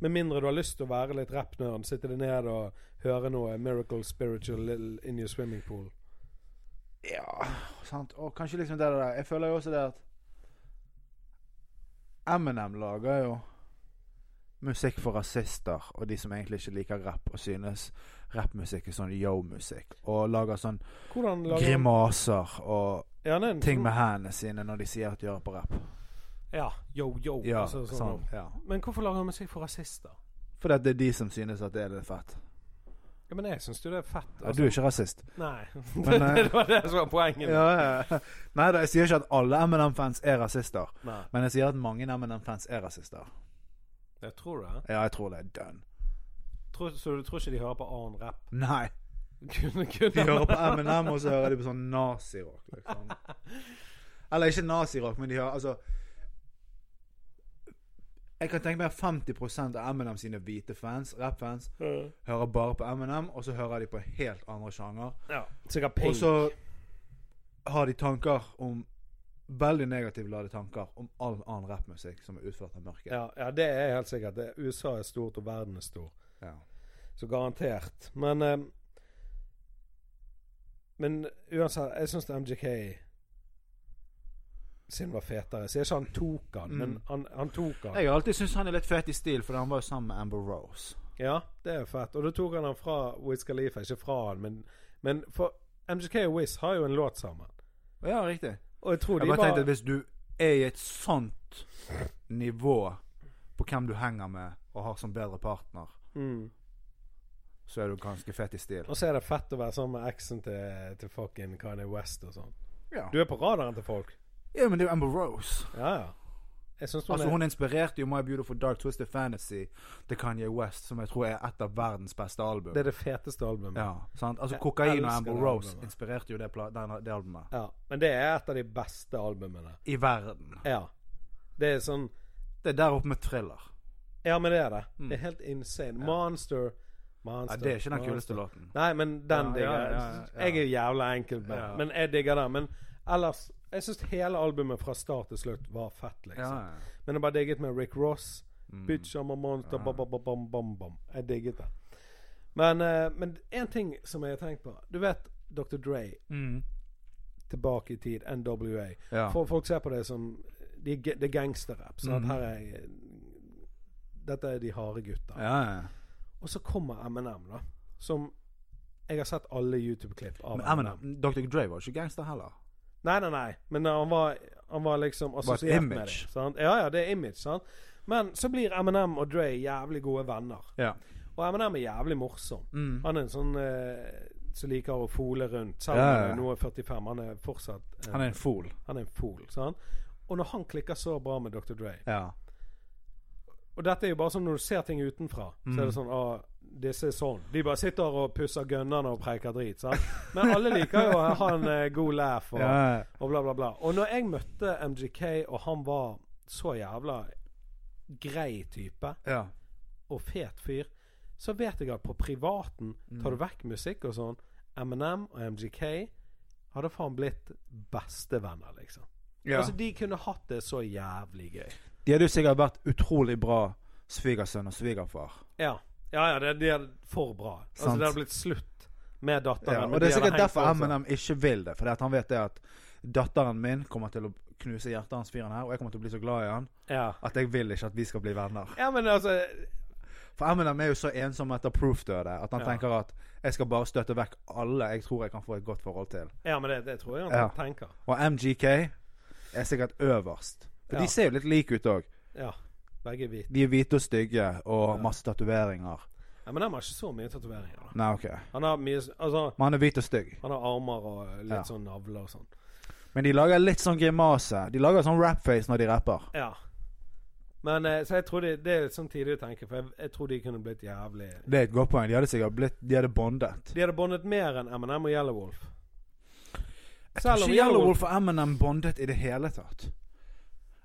S1: Med mindre du har lyst til å være litt rappnerd, sitte deg ned og høre noe Miracle Spiritual Little In Your Swimming Pool.
S2: Ja, sant. Og kanskje liksom det der Jeg føler jo også det at Eminem lager jo musikk for rasister og de som egentlig ikke liker rapp, og synes rappmusikk er sånn yo-musikk. Og lager sånn
S1: Hvordan lager han-
S2: grimaser og
S1: Ja, nei,
S2: ting med hendene sine når de sier at de hører på rapp.
S1: Ja, yo, yo.
S2: Ja,
S1: altså, sånn.
S2: sånn. Ja.
S1: Men hvorfor lager han musikk for rasister?
S2: For det er de som synes at det er litt fett.
S1: Ja, Men jeg syns jo det er fett. altså.
S2: Ja, du er ikke rasist.
S1: Nei.
S2: Men, eh,
S1: det var det som var poenget.
S2: Ja, ja. Nei da, jeg sier ikke at alle M&M-fans er rasister.
S1: Nei,
S2: Men jeg sier at mange M&M-fans er rasister.
S1: jeg tror det.
S2: Ja, jeg tror det er dønn.
S1: Tror, så du tror ikke de hører på annen rap?
S2: Nei.
S1: Kunne,
S2: De
S1: kunne.
S2: hører på M&M, og så hører de på sånn nazirock, liksom. Eller ikke nazirock, men de hører altså Jeg kan tenke meg at 50 av M&M sine hvite fans, rappfans, hører bare på M&M, og så hører de på helt andre sjanger.
S1: Ja, sikkert
S2: Og så har de tanker om Veldig negativt lade tanker om all annen rappmusikk som er utført av mørket.
S1: Ja, ja, det er helt sikkert. Det, USA er stort, og verden er stor.
S2: Ja.
S1: Så garantert. Men eh, Men uansett, jeg syns MGK sin var fetere. Så jeg sier ikke han tok han, men
S2: Mm.
S1: han, han tok han.
S2: Jeg har alltid syntes han er litt fet i stil, for han var jo sammen med Amber Rose.
S1: Ja, det er fett. Og da tok han han fra Wiz Khalifa, ikke fra han, men, men for MGK og Wiz har jo en låt sammen.
S2: Ja, riktig.
S1: Og jeg tror
S2: Jeg
S1: de
S2: bare
S1: var
S2: tenkte at hvis du er i et sånt nivå på hvem du henger med og har som bedre partner,
S1: Mm.
S2: så er du ganske fett i stil.
S1: Og så er det fett å være sammen med eksen til, til fucking Kanye West og sånn.
S2: Ja.
S1: Du er på radaren til folk.
S2: ja, men det er jo Amber Rose.
S1: Ja, ja. Jeg syns hun,
S2: Altså
S1: Sånn er
S2: Hun inspirerte jo My Beautiful Dark Twisted Fantasy til Kanye West, som jeg tror er et av verdens beste album.
S1: Det er det feteste albumet.
S2: Ja, sant? Altså
S1: Jeg
S2: Kokain
S1: elsker
S2: og
S1: det
S2: Amber Rose
S1: albumet.
S2: inspirerte jo det, pla den, det albumet.
S1: Ja, Men det er et av de beste albumene.
S2: I verden.
S1: Ja. Det er sånn
S2: Det er der oppe med thriller.
S1: Ja, men det er det. Det er helt insane. Monster. Monster.
S2: Mm. Ja, det er ikke den
S1: Monster.
S2: kuleste låten.
S1: Nei, men den
S2: Ja,
S1: digger jeg.
S2: ja, ja, ja.
S1: Jeg er jævla enkel med
S2: Ja.
S1: men jeg digger den. Men ellers Jeg syns hele albumet fra start til slutt var fett,
S2: Ja,
S1: liksom.
S2: ja.
S1: Men jeg bare digget med Rick Ross.
S2: Mm.
S1: Bitch I'm a monster, bam, bam, bam, bam, bam, bam. Jeg digget det. Men eh, men én ting som jeg har tenkt på. Du vet Dr. Dre,
S2: Mm.
S1: tilbake i tid, NWA.
S2: ja.
S1: For, folk ser på det som de, Det er gangsterrap. Så at
S2: Mhm.
S1: her er Dette er de harde gutta.
S2: ja, ja.
S1: Og så kommer Eminem, da. Som Jeg har sett alle YouTube-klipp av
S2: Men Eminem, Dr. Dre var ikke gangster heller.
S1: Nei, nei, nei. Men eh, han var, han var liksom
S2: et
S1: assosiert med
S2: image.
S1: det. Sant? Ja, ja, det er image, sant. Men så blir Eminem og Dre jævlig gode venner.
S2: Ja.
S1: Og Eminem er jævlig morsom.
S2: Mm.
S1: Han er en sånn eh, som liker å fole rundt. Selv om
S2: Ja, ja, ja.
S1: han er nå er 45, han er fortsatt eh,
S2: Han er en fool.
S1: han er en fool. Sant? Og når han klikker så bra med Dr. Dre
S2: Ja.
S1: Og dette er jo bare sånn når du ser ting utenfra, så er det
S2: Mm.
S1: sånn ah, disse er sånn. De bare sitter og pusser gunnerne og preiker drit. Sant? Men alle liker jo å ha en eh, god laugh og,
S2: Ja.
S1: og bla, bla, bla. Og når jeg møtte MGK, og han var så jævla grei type
S2: ja.
S1: og fet fyr, så vet jeg at på privaten
S2: Mm.
S1: tar du vekk musikk og sånn. Eminem og MGK hadde faen blitt bestevenner, liksom.
S2: ja.
S1: Altså, de kunne hatt det så jævlig gøy.
S2: De hadde jo sikkert vært utrolig bra svigersønn og svigerfar.
S1: Ja, ja, ja det, de er for bra. Altså,
S2: Sant.
S1: det hadde blitt slutt med datteren.
S2: Ja,
S1: men
S2: og
S1: de
S2: det er
S1: hadde
S2: sikkert
S1: hengt
S2: derfor
S1: på seg.
S2: Eminem ikke vil det. Fordi at han vet det at datteren min kommer til å knuse hjertet hans fyren her, og jeg kommer til å bli så glad i han
S1: ja.
S2: at jeg vil ikke at vi skal bli venner.
S1: ja, men altså
S2: For Eminem er jo så ensom etter proof-døde at han
S1: Ja.
S2: tenker at jeg skal bare støte vekk alle jeg tror jeg kan få et godt forhold til.
S1: Ja, men det, det tror jeg han
S2: Ja.
S1: tenker.
S2: Og MGK er sikkert øverst. For
S1: Ja.
S2: de ser jo litt like ut òg.
S1: Ja. Begge er hvite.
S2: De er hvite og stygge og masse tatoveringer.
S1: Eminem har ikke så mye tatoveringer. da.
S2: Nei, OK.
S1: Han har mye Altså,
S2: Men han er hvit og stygg.
S1: han har armer og litt
S2: Ja.
S1: sånn navler og sånn.
S2: Men de lager litt sånn grimase. De lager sånn rap-face når de rapper.
S1: Ja. Men eh, Så jeg tror de, det er litt sånn tidlig å tenke, for jeg, jeg tror de kunne blitt jævlig
S2: Det er et godt poeng. De hadde sikkert blitt De hadde bondet.
S1: De hadde bondet mer enn Eminem og Yellow Wolf. Selv
S2: Selv
S1: om
S2: ikke
S1: Yellow
S2: Yellow Wolf og Eminem bondet i det hele tatt.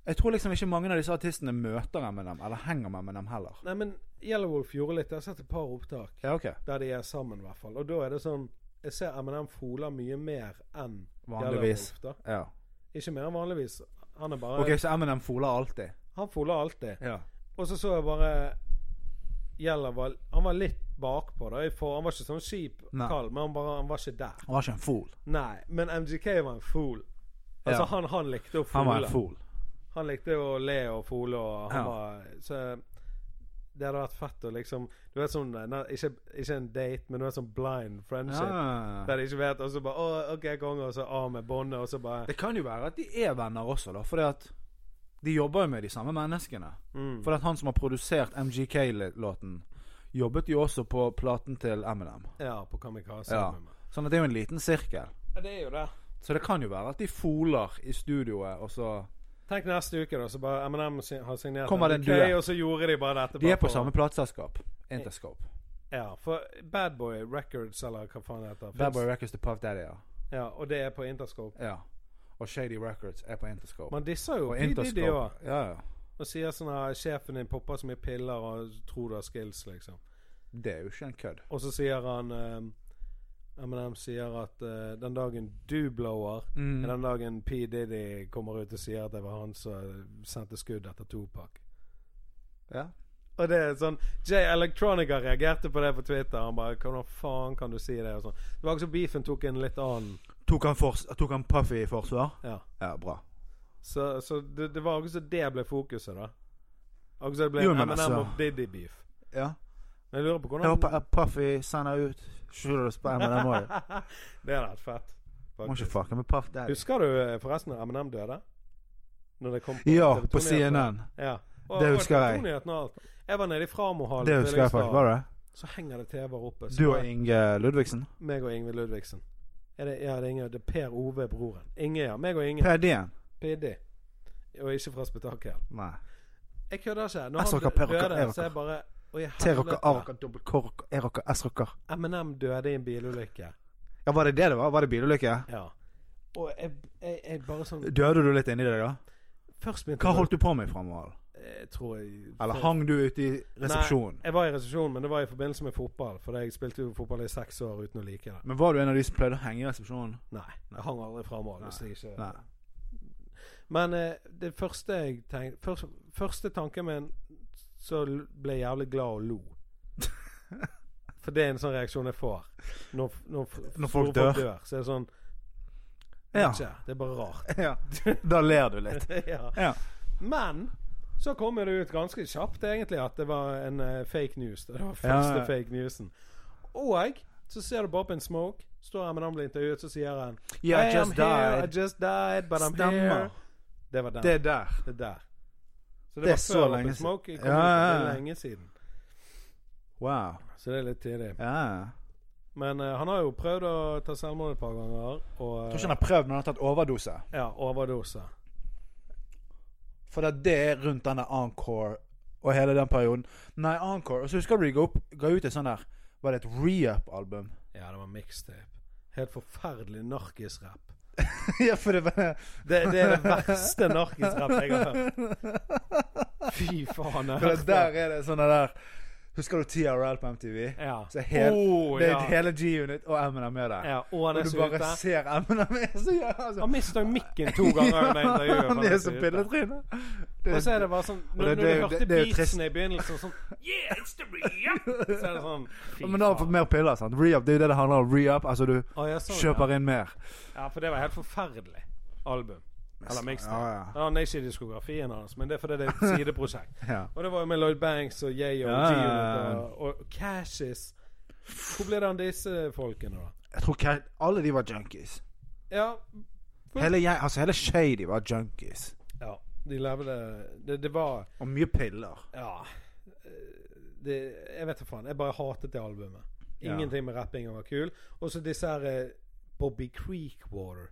S2: Jeg tror liksom ikke mange av disse artistene møter Eminem, eller henger med Eminem heller.
S1: Nei, men Yellow Wolf gjorde litt. Jeg har sett et par opptak
S2: Ja, ok.
S1: der de er sammen, i hvert fall. Og da er det sånn Jeg ser Eminem foler mye mer enn
S2: Vanligvis.
S1: Yellow Wolf. da
S2: Ja.
S1: Ikke mer enn vanligvis. Han er bare
S2: Ok, så Eminem foler alltid.
S1: Han foler alltid.
S2: Ja.
S1: Og så så jeg bare Yellow var Han var litt bakpå, da. i for- Han var ikke sånn kjip
S2: Nei.
S1: kald, men han, bare, han var ikke der.
S2: Han var ikke en fool.
S1: Nei, men MGK var en fool. Altså,
S2: Ja.
S1: han, han likte å fole.
S2: Han var en fool.
S1: Han likte å le og fole, og han
S2: Ja.
S1: var Så det hadde vært fett å liksom Du vet sånn nei, ikke, ikke en date, men du vet sånn blind friendship. Der de ikke vet, og så bare Å, OK, konge, og så av med båndet, og så bare
S2: Det kan jo være at de er venner også, da. Fordi at de jobber jo med de samme menneskene.
S1: mm.
S2: Fordi at han som har produsert MGK-låten, jobbet jo også på platen til Eminem.
S1: Ja, på kamikaze.
S2: Ja. Sånn at det er jo en liten sirkel.
S1: ja, det er jo det.
S2: Så det kan jo være at de foler i studioet, og så
S1: Tenk neste uke, da, så bare M&M sin- har signert
S2: Kommer det en
S1: MGK,
S2: duett?
S1: og så gjorde de bare dette.
S2: De er
S1: bare for-
S2: på samme plateselskap. Interscope.
S1: Ja, for Bad Boy Records, eller hva faen det heter.
S2: Bad
S1: finnes-
S2: Boy Records til Puff Daddy, ja.
S1: Ja, og det er på Interscope.
S2: ja. Og Shady Records er på Interscope.
S1: Man disser jo
S2: og
S1: de, de òg.
S2: ja, ja.
S1: Og sier sånn her Sjefen din popper så mye piller og tror du har skills, liksom.
S2: Det er jo ikke en kødd.
S1: Og så sier han um, M&M sier at eh, den dagen du blower,
S2: Mm.
S1: er den dagen P. Diddy kommer ut og sier at det var han som eh, sendte skudd etter Topak.
S2: Ja.
S1: Og det er sånn J. Electronica reagerte på det på Twitter. Han bare 'Hvordan faen kan du si det?' og sånn. Det var ikke så beefen tok en litt annen
S2: Tok han, fors- tok han Puffy i forsvar?
S1: Ja.
S2: Ja, bra.
S1: Så, så det, det var ikke så det ble fokuset, da. Akkurat som det ble
S2: Jo,
S1: en
S2: men
S1: M&M
S2: altså-
S1: og Diddy-beef.
S2: Ja.
S1: Men jeg lurer på
S2: Jeg
S1: hvordan
S2: håper at Puffy sender ut Shooter Spam, men den må jo
S1: Det hadde vært fett.
S2: Må ikke
S1: faktisk.
S2: fucke med Puff Daddy.
S1: Husker du eh, forresten da M&M døde? Når det kom på
S2: Ja,
S1: TV2
S2: på
S1: nyhetene?
S2: CNN.
S1: Ja. Og,
S2: Det husker jeg.
S1: og telefonnyhetene og alt. Jeg var nede i Framohallen.
S2: Det
S1: i
S2: husker jeg
S1: Lyngstad,
S2: faktisk. Var det?
S1: Så henger det TV-er oppe. Så
S2: Du og
S1: bare
S2: Inge Ludvigsen?
S1: meg og Ingvild Ludvigsen. Er det, ja, det er Inge. Det er Per Ove, broren. Inge, ja. Meg og Inge.
S2: Per Dien?
S1: Piddi. Og ikke fra Spetakkel.
S2: Nei.
S1: Jeg kødder ikke.
S2: Jeg
S1: Når
S2: så
S1: han
S2: ikke Per Rocker, jeg
S1: døde, så
S2: rocker.
S1: jeg bare Oi,
S2: T-rocker,
S1: helvete.
S2: A-rocker, dobbel K-rocker, E E-rocker, S-rocker.
S1: M&M døde i en bilulykke.
S2: Ja, var det det det var? Var det bilulykke?
S1: Ja. Og jeg, jeg, jeg bare sånn
S2: Døde du litt inni deg, da?
S1: Først begynte
S2: Hva
S1: jeg å-
S2: holdt du på med framover?
S1: Jeg tror jeg
S2: Eller hang du ute i resepsjonen?
S1: Jeg var i resepsjonen, men det var i forbindelse med fotball. For jeg spilte jo fotball i seks år uten å like det.
S2: Men var du en av de som pleide å henge i resepsjonen?
S1: Nei. Jeg hang aldri framover. hvis jeg ikke
S2: Nei.
S1: Men eh, det første jeg tenkte først, Første tanken min så l- ble jeg jævlig glad og lo. For det er en sånn reaksjon jeg får når, f- når, f-
S2: Når folk
S1: store
S2: dør.
S1: Så er det sånn
S2: Ja.
S1: ikke, Det er bare rart.
S2: ja. Da ler du litt.
S1: ja.
S2: Ja.
S1: Men så kom det ut ganske kjapt egentlig at det var en eh, fake news. Det var første
S2: ja.
S1: fake newsen. Og så ser du Bob in Smoke. Står her med blir intervjuet, så sier han
S2: Yeah, I
S1: I am
S2: just
S1: here,
S2: died.
S1: I just died, but I'm
S2: Stemmer.
S1: here. Det var den.
S2: Det
S1: Det,
S2: der.
S1: der. Så det,
S2: Det er
S1: var
S2: så
S1: før Bob
S2: lenge
S1: in
S2: siden.
S1: Smoke kom
S2: Ja,
S1: ut.
S2: ja, ja.
S1: Det er lenge siden.
S2: Wow. Ah.
S1: Så det er litt tidlig.
S2: Ja.
S1: Men eh, han har jo prøvd å ta selvmord et par ganger. Og
S2: Jeg tror ikke
S1: eh,
S2: han har prøvd, men han har tatt overdose.
S1: ja, overdose.
S2: For det, det er rundt denne Encore og hele den perioden. Nei, Encore. Og så husker du de ga, opp, ga ut et sånn der Var det et re-up-album?
S1: Ja, det var mixtape. Helt forferdelig narkisrapp.
S2: ja, for det var
S1: Det, det er det verste narkisrapp jeg har hørt. Fy faen. Jeg
S2: For
S1: hørte-
S2: det der er det sånne der Husker du TRL på MTV?
S1: ja.
S2: Så hel,
S1: Åh,
S2: det er
S1: Oh, ja.
S2: hele G-Unit og Eminem med der.
S1: ja. Og han
S2: og
S1: er
S2: du
S1: så
S2: bare
S1: ute.
S2: ser Eminem er så gjør altså.
S1: Han mista mikken to ganger under intervjuet. for
S2: Han er så
S1: ute.
S2: pilletryne.
S1: sånn. Og så er det bare sånn Når,
S2: det-
S1: når
S2: det er
S1: du
S2: jo-
S1: hørte
S2: det- det er jo trist.
S1: beatsen i begynnelsen, sånn Yeah, it's the re-up! Så er det sånn fy
S2: Men da har han fått
S1: faen.
S2: mer piller. sant? Re-up, Det er jo det det handler om. Re-up, altså du
S1: Å, jeg så det.
S2: kjøper inn mer.
S1: Ja, for det var helt forferdelig album. Eller mixtape.
S2: Ja, ja.
S1: Han er ikke i diskografien hans, men det er fordi det er et sideprosjekt.
S2: Ja.
S1: Og det var jo med Lloyd Banks og Yay og
S2: Ja.
S1: G-Unit og, og Cashis. Hvor ble det av disse folkene, da?
S2: Jeg tror ikke alle de var junkies.
S1: Ja,
S2: Hele, jeg, altså hele Shady var junkies.
S1: ja de levde Det, det var
S2: Og mye piller.
S1: Ja. eh, Det, jeg vet da faen. Jeg bare hatet det albumet.
S2: Ja.
S1: Ingenting med rappinga var kul. Og så disse her eh, Bobby Creekwater.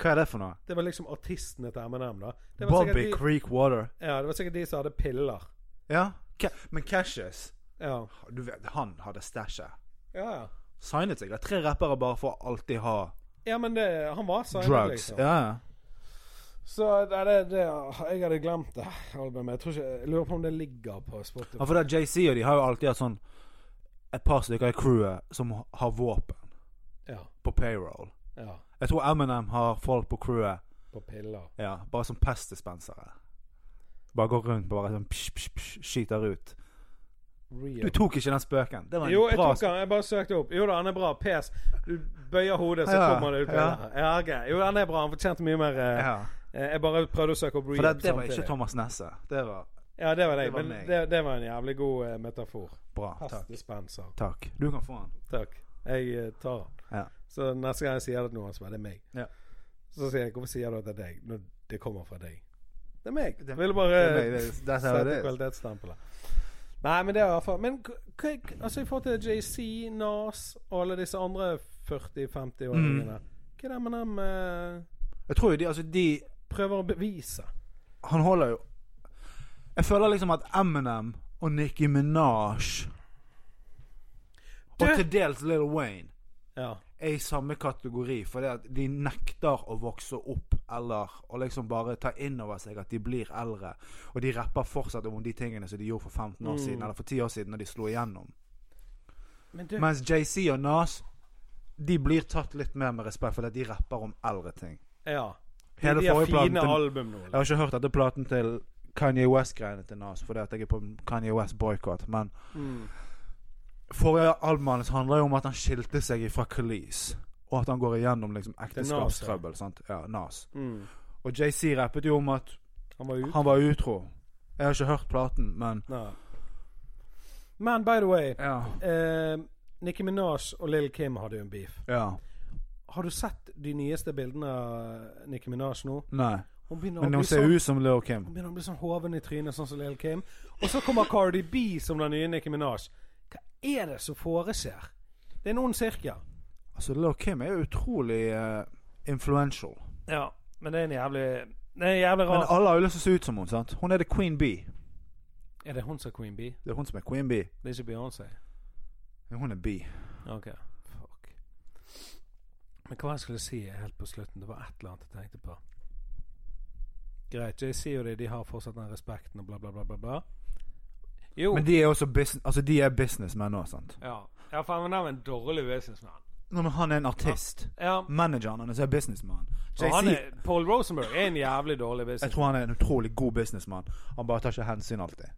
S2: Hva er det for noe?
S1: Det var liksom artistene til M&M da. Det var sikkert
S2: Bobby
S1: de,
S2: Creek Water.
S1: ja, det var sikkert de som hadde piller.
S2: Ja. Ca Men Cashes
S1: Ja,
S2: Du vet, han hadde stæsjet.
S1: ja. ja.
S2: Signet seg av tre rappere bare for å alltid ha
S1: ja men det, han var signet,
S2: drugs.
S1: liksom.
S2: Ja, ja.
S1: Så det, det, det, jeg hadde glemt det albumet. Jeg, tror ikke, jeg lurer på om det ligger på Spotify.
S2: Ja, for det er JC og de har jo alltid hatt sånn et par stykker i crewet som har våpen
S1: Ja,
S2: på payroll.
S1: ja.
S2: Jeg tror Eminem har folk på crewet
S1: På piller.
S2: ja, bare som pestdispensere. Bare går rundt bare sånn psh, psh, psh, skyter ut.
S1: Real.
S2: Du tok ikke den spøken. Det var en
S1: Jo, jeg
S2: bra
S1: tok den. Jeg bare søkte opp. Jo da, han er bra. PS. Du bøyer hodet, så
S2: Ja,
S1: kommer det ut.
S2: ja.
S1: Ja. Ja, ok. Jo, han er bra. Han fortjente mye mer eh,
S2: Ja.
S1: eh, Jeg bare prøvde å søke opp
S2: For det,
S1: Reap
S2: det var ikke
S1: samtidig.
S2: Thomas Nesse. Det var
S1: Ja, det var
S2: Det
S1: deg.
S2: var
S1: Men
S2: meg.
S1: det, det var en jævlig god eh, metafor.
S2: bra. Takk.
S1: Pestdispenser.
S2: Takk. Du kan få den.
S1: Takk. Jeg eh, tar den.
S2: Ja.
S1: Så neste gang jeg sier det til noen, så er det meg.
S2: Ja.
S1: Så sier jeg 'Hvorfor sier du at det er deg?' når det kommer fra deg. Det er meg.
S2: Det-
S1: Jeg ville bare
S2: det er meg. Det- that's how it
S1: Eh, sette
S2: is.
S1: kvalitetsstempelet. Nei, men det er i hvert fall Men k- k- altså i forhold til JC, Nas og alle disse andre
S2: Mm.
S1: 40-50-åringene Hva er det med dem eh,
S2: Jeg tror jo de Altså, de
S1: prøver å bevise?
S2: Han holder jo Jeg føler liksom at Eminem og Nicki Minaj og
S1: Du-
S2: til dels Little Wayne
S1: Ja.
S2: er i samme kategori, fordi at de nekter å vokse opp eller å liksom bare ta inn over seg at de blir eldre. Og de rapper fortsatt om de tingene som de gjorde for 15
S1: Mm.
S2: år siden, eller for 10 år siden, når de slo igjennom.
S1: Men du
S2: Mens JC og Nas, de blir tatt litt mer med respekt fordi at de rapper om eldre ting.
S1: Ja.
S2: Hele
S1: de har
S2: forrige platen
S1: fine
S2: til-
S1: album nå.
S2: Jeg har ikke hørt dette platen til Kanye West-greiene til Nas, fordi at jeg er på Kanye West-boikott, men
S1: Mm.
S2: Forrige album hans handler jo om at han skilte seg fra Khalees, og at han går igjennom liksom
S1: er Nas, ja.
S2: ekteskapstrøbbel. sant? Ja, Nas.
S1: Mm.
S2: Og JC rappet jo om at
S1: Han var ute.
S2: han var utro. Jeg har ikke hørt platen, men
S1: Nei. Men by the way
S2: Ja.
S1: eh, Nicki Minaj og Lill Kim hadde jo en beef.
S2: ja.
S1: Har du sett de nyeste bildene av eh, Nicki Minaj nå?
S2: Nei.
S1: Hun begynner,
S2: Men
S1: å,
S2: hun
S1: bli
S2: ser
S1: sånn,
S2: ut som Lil Kim.
S1: hun begynner å bli sånn hoven i trynet, sånn som Lil Kim. Og så kommer Cardi B som den nye Nicki Minaj. Hva er det som foreskjer? Det er noen cirkler.
S2: Altså, Lil Kim er jo utrolig eh, influential.
S1: Ja, men det er en jævlig Det er en jævlig
S2: Men
S1: rar
S2: alle har jo lyst til å se ut som hun, sant? Hun er the Queen Bee.
S1: Er det hun som er Queen Bee?
S2: Det er hun som er Queen Bee.
S1: Det er ikke Beyoncé?
S2: Men Hun er Bee.
S1: Ok. Fuck. Men hva jeg skulle si helt på slutten, det var et eller annet jeg tenkte på. Greit, JC og de, de har fortsatt den respekten og bla, bla, bla, bla. bla. Jo.
S2: Men de er også business, altså de er businessmenn nå, sant?
S1: ja. ja, for han er en dårlig businessmann.
S2: Nå, men han er en artist.
S1: Ja.
S2: Manageren hans er businessmann.
S1: Og han
S2: JC
S1: er, Paul Rosenberg er en jævlig dårlig
S2: Jeg
S1: business.
S2: tror han er en utrolig god businessmann. Han bare tar ikke hensyn alltid.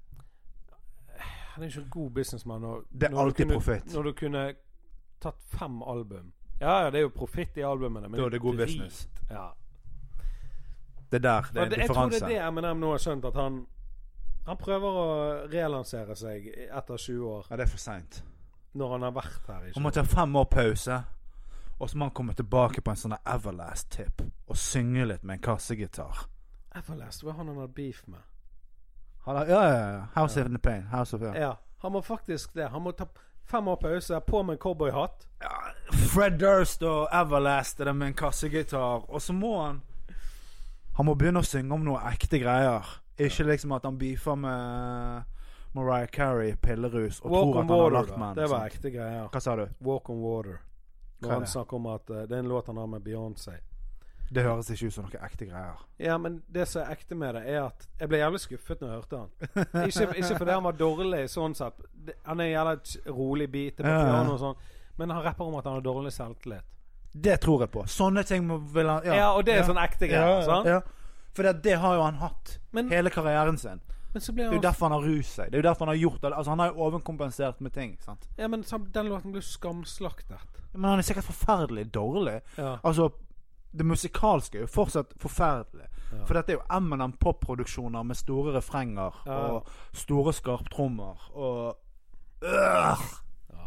S1: Han er ikke en god businessmann. og-
S2: Det er
S1: når du
S2: alltid
S1: kunne-
S2: profitt.
S1: Når du kunne tatt fem album. Ja, ja, det er jo profitt i albumene, men
S2: Da er det god
S1: drit.
S2: business.
S1: Ja.
S2: Det der, det er
S1: Ja,
S2: en
S1: det- jeg tror det
S2: differanse.
S1: er det Eminem nå har skjønt, at han han prøver å relansere seg etter 20 år,
S2: Ja, det er for seint.
S1: når han har vært her i
S2: Han
S1: 20
S2: må
S1: år.
S2: ta fem år pause, og så må han komme tilbake på en sånn Everlast-tipp og synge litt med en kassegitar.
S1: Everlast, hva er han han har beef med?
S2: Han er, ja, ja, ja. House of the Pain. House of ja.
S1: Ja, han må faktisk det. Han må ta fem år pause, på med en cowboyhatt.
S2: Ja, Fred Durst og Everlast er det med en kassegitar, og så må han Han må begynne å synge om noe ekte greier. Ikke liksom at han beefer med Mariah Carey, pillerus, og
S1: Walk on
S2: tror at han har
S1: water,
S2: lagt
S1: da.
S2: med
S1: Det
S2: henne.
S1: var
S2: sant?
S1: ekte greier.
S2: Hva sa du?
S1: Walk on water.
S2: Hva
S1: Når
S2: er
S1: han
S2: det?
S1: snakker om at eh, det er en låt han har med Beyoncé.
S2: Det høres ikke ut som noe ekte greier.
S1: Ja, men det som er ekte med det, er at jeg ble jævlig skuffet når jeg hørte han. Ikke, ikke fordi han var dårlig sånn sett. Det- Han er en jævla ch- rolig beat på
S2: Ja, ja.
S1: piano og sånn. Men han rapper om at han har dårlig selvtillit.
S2: Det tror jeg på. Sånne ting må, vil han
S1: Ja, og det er sånn ekte greier. sant?
S2: Ja. For det, det har jo han hatt
S1: Men-
S2: hele karrieren sin.
S1: Men så ble
S2: Det er jo
S1: han
S2: derfor han har rust seg. Det er jo derfor Han har gjort det. Altså han har jo overkompensert med ting. sant?
S1: Ja, men sam- den låten ble skamslaktet.
S2: Men han er sikkert forferdelig dårlig.
S1: Ja.
S2: Altså, det musikalske er jo fortsatt forferdelig.
S1: Ja.
S2: For dette er jo Eminem popproduksjoner med store refrenger
S1: Ja.
S2: og store skarptrommer og øh!
S1: ja.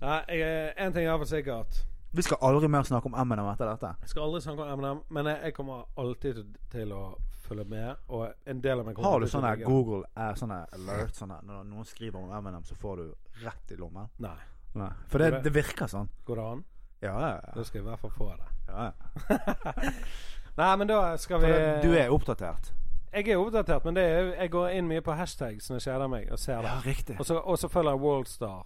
S1: Nei, jeg- en ting er for sikkert.
S2: Vi skal aldri mer snakke om Eminem etter dette.
S1: Jeg skal aldri snakke om Eminem, men jeg, jeg kommer alltid til- til å følge med. Og en del av meg kommer
S2: Har du
S1: alltid til å
S2: sånne
S1: digge.
S2: Google eh, sånne alert sånne, Når noen skriver om Eminem, så får du rett i lommen?
S1: Nei.
S2: Nei. For det, det virker sånn.
S1: Går det an?
S2: Ja, ja,
S1: Da skal jeg i hvert fall få det.
S2: ja.
S1: Nei, men da skal vi
S2: For det, du er oppdatert?
S1: Jeg er oppdatert, men det er, jo- jeg går inn mye på hashtags når jeg kjeder meg og ser det.
S2: Ja, riktig.
S1: Og så- Og så følger jeg Worldstar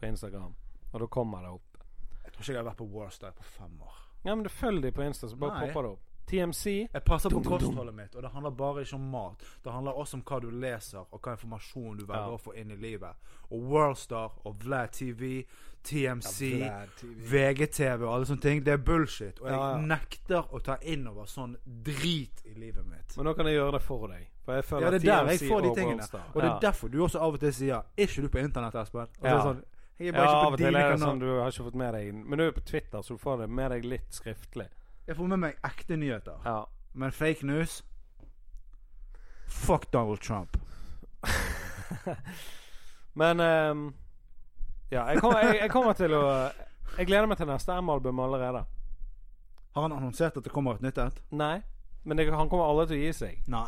S1: på Instagram, og da kommer det opp.
S2: Jeg tror ikke jeg har vært på Warstar på fem år.
S1: Ja, men du følger de på Insta, så bare
S2: Nei.
S1: popper det opp. TMC
S2: Jeg passer på kostholdet mitt, og det handler bare ikke om mat. Det handler også om hva du leser, og hva informasjon du velger
S1: Ja.
S2: å få inn i livet. Og Worldstar og Vlad TV, TMC,
S1: Ja, Vlad TV.
S2: VGTV og alle sånne ting, det er bullshit. Og jeg
S1: Ja, ja.
S2: nekter å ta innover sånn drit i livet mitt.
S1: Men nå kan jeg gjøre det for deg. For jeg følger
S2: Ja, det er der jeg
S1: TMC
S2: får de
S1: og
S2: tingene.
S1: Worldstar.
S2: Og det
S1: Ja.
S2: er derfor du også av og til sier 'Er ikke du på internett, Espen?' Og så er
S1: Ja.
S2: det sånn Jeg er bare
S1: ja, av
S2: ikke på
S1: og til
S2: dine
S1: er det
S2: kanaler.
S1: sånn du har ikke fått med deg Men du er på Twitter, så du får det med deg litt skriftlig.
S2: Jeg får med meg ekte nyheter.
S1: Ja.
S2: Men fake news Fuck Donald Trump.
S1: Men ehm, Ja, jeg kommer, jeg, jeg kommer til å Jeg gleder meg til neste M-album allerede.
S2: Har han annonsert at det kommer et nytt et?
S1: Nei. Men jeg, han kommer aldri til å gi seg.
S2: Nei.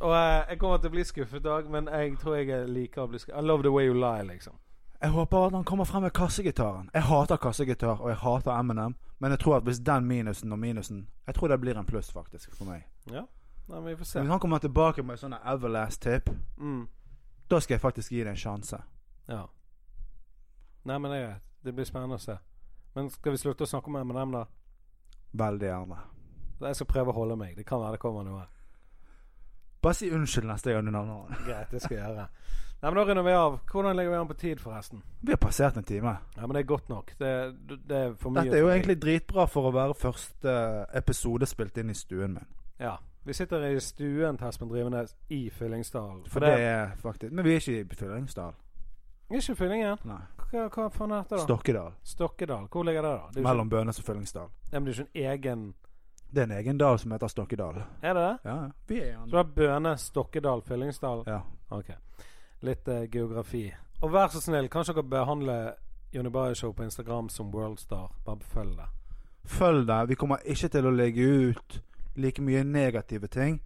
S1: Og eh, jeg kommer til å bli skuffet i dag, men jeg tror jeg liker å bli skuffet. I love the way you lie, liksom.
S2: Jeg håper at han kommer frem med kassegitaren. Jeg hater kassegitar, og jeg hater Eminem. Men jeg tror at hvis den minusen og minusen Jeg tror det blir en pluss, faktisk, for meg.
S1: Ja. Nei, men vi får
S2: Så
S1: se.
S2: Hvis han kommer tilbake med sånne Everlast-tip,
S1: Mm.
S2: da skal jeg faktisk gi det en sjanse.
S1: Ja. Nei, men det er greit. Det blir spennende å se. Men skal vi slutte å snakke om M&M, da?
S2: Veldig gjerne.
S1: Jeg skal prøve å holde meg. Det kan være det kommer noe.
S2: Bare si unnskyld neste gang du nevner han.
S1: Greit, det skal jeg gjøre. Nei, men Da runder vi av. Hvordan ligger vi an på tid, forresten?
S2: Vi har passert en time.
S1: Ja, men Det er godt nok. Det, det er for mye.
S2: Dette er jo
S1: for meg.
S2: egentlig dritbra for å være første episode spilt inn i stuen min.
S1: Ja. Vi sitter i stuen til Espen Drivenes i Fyllingsdalen.
S2: For det er faktisk Men vi er ikke i Fyllingsdal.
S1: er ikke Fyllingen.
S2: Nei.
S1: Hva, hva faen heter det? da?
S2: Stokkedal.
S1: Stokkedal. Hvor ligger det, da? Det er jo ikke,
S2: Mellom Bønes og Fyllingsdal.
S1: Nei, men det er jo ikke en egen
S2: Det er en egen dal som heter Stokkedal.
S1: Er det det?
S2: Ja, vi er i
S1: Så
S2: den.
S1: det er Bøne, Stokkedal, Fyllingsdal.
S2: Ja.
S1: Ok. Litt eh, geografi. Og vær så snill, kanskje dere behandler Jonny Bayer Show på Instagram som Worldstar? Bare følg det.
S2: Følg det. Vi kommer ikke til å legge ut like mye negative ting,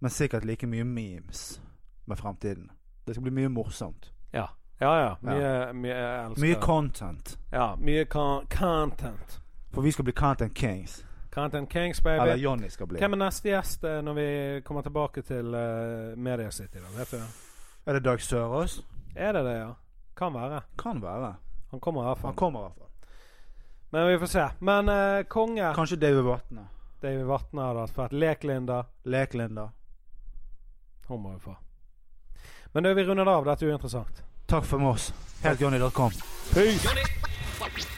S2: men sikkert like mye memes med fremtiden. Det skal bli mye morsomt.
S1: Ja. Ja, ja. Mye, mye jeg elsker
S2: Mye content.
S1: Ja, mye con content.
S2: For vi skal bli content kings.
S1: Content Kings, baby.
S2: Eller Johnny skal bli.
S1: Hvem er neste gjest eh, når vi kommer tilbake til uh, Media City? Da? Vet du det?
S2: Er det Dag Sørås?
S1: Er det det, ja? Kan være.
S2: Kan være.
S1: Han kommer i hvert
S2: Han
S1: fall.
S2: kommer i hvert fall.
S1: Men vi får se. Men eh, konge
S2: Kanskje David Vatne.
S1: David Vatne hadde vært fett. Lek-Linda.
S2: Lek-Linda.
S1: Hun må vi få. Men du, vi runder av. Dette er uinteressant.
S2: Takk for med oss. Helt Johnny.com.
S1: Peace!
S3: Johnny.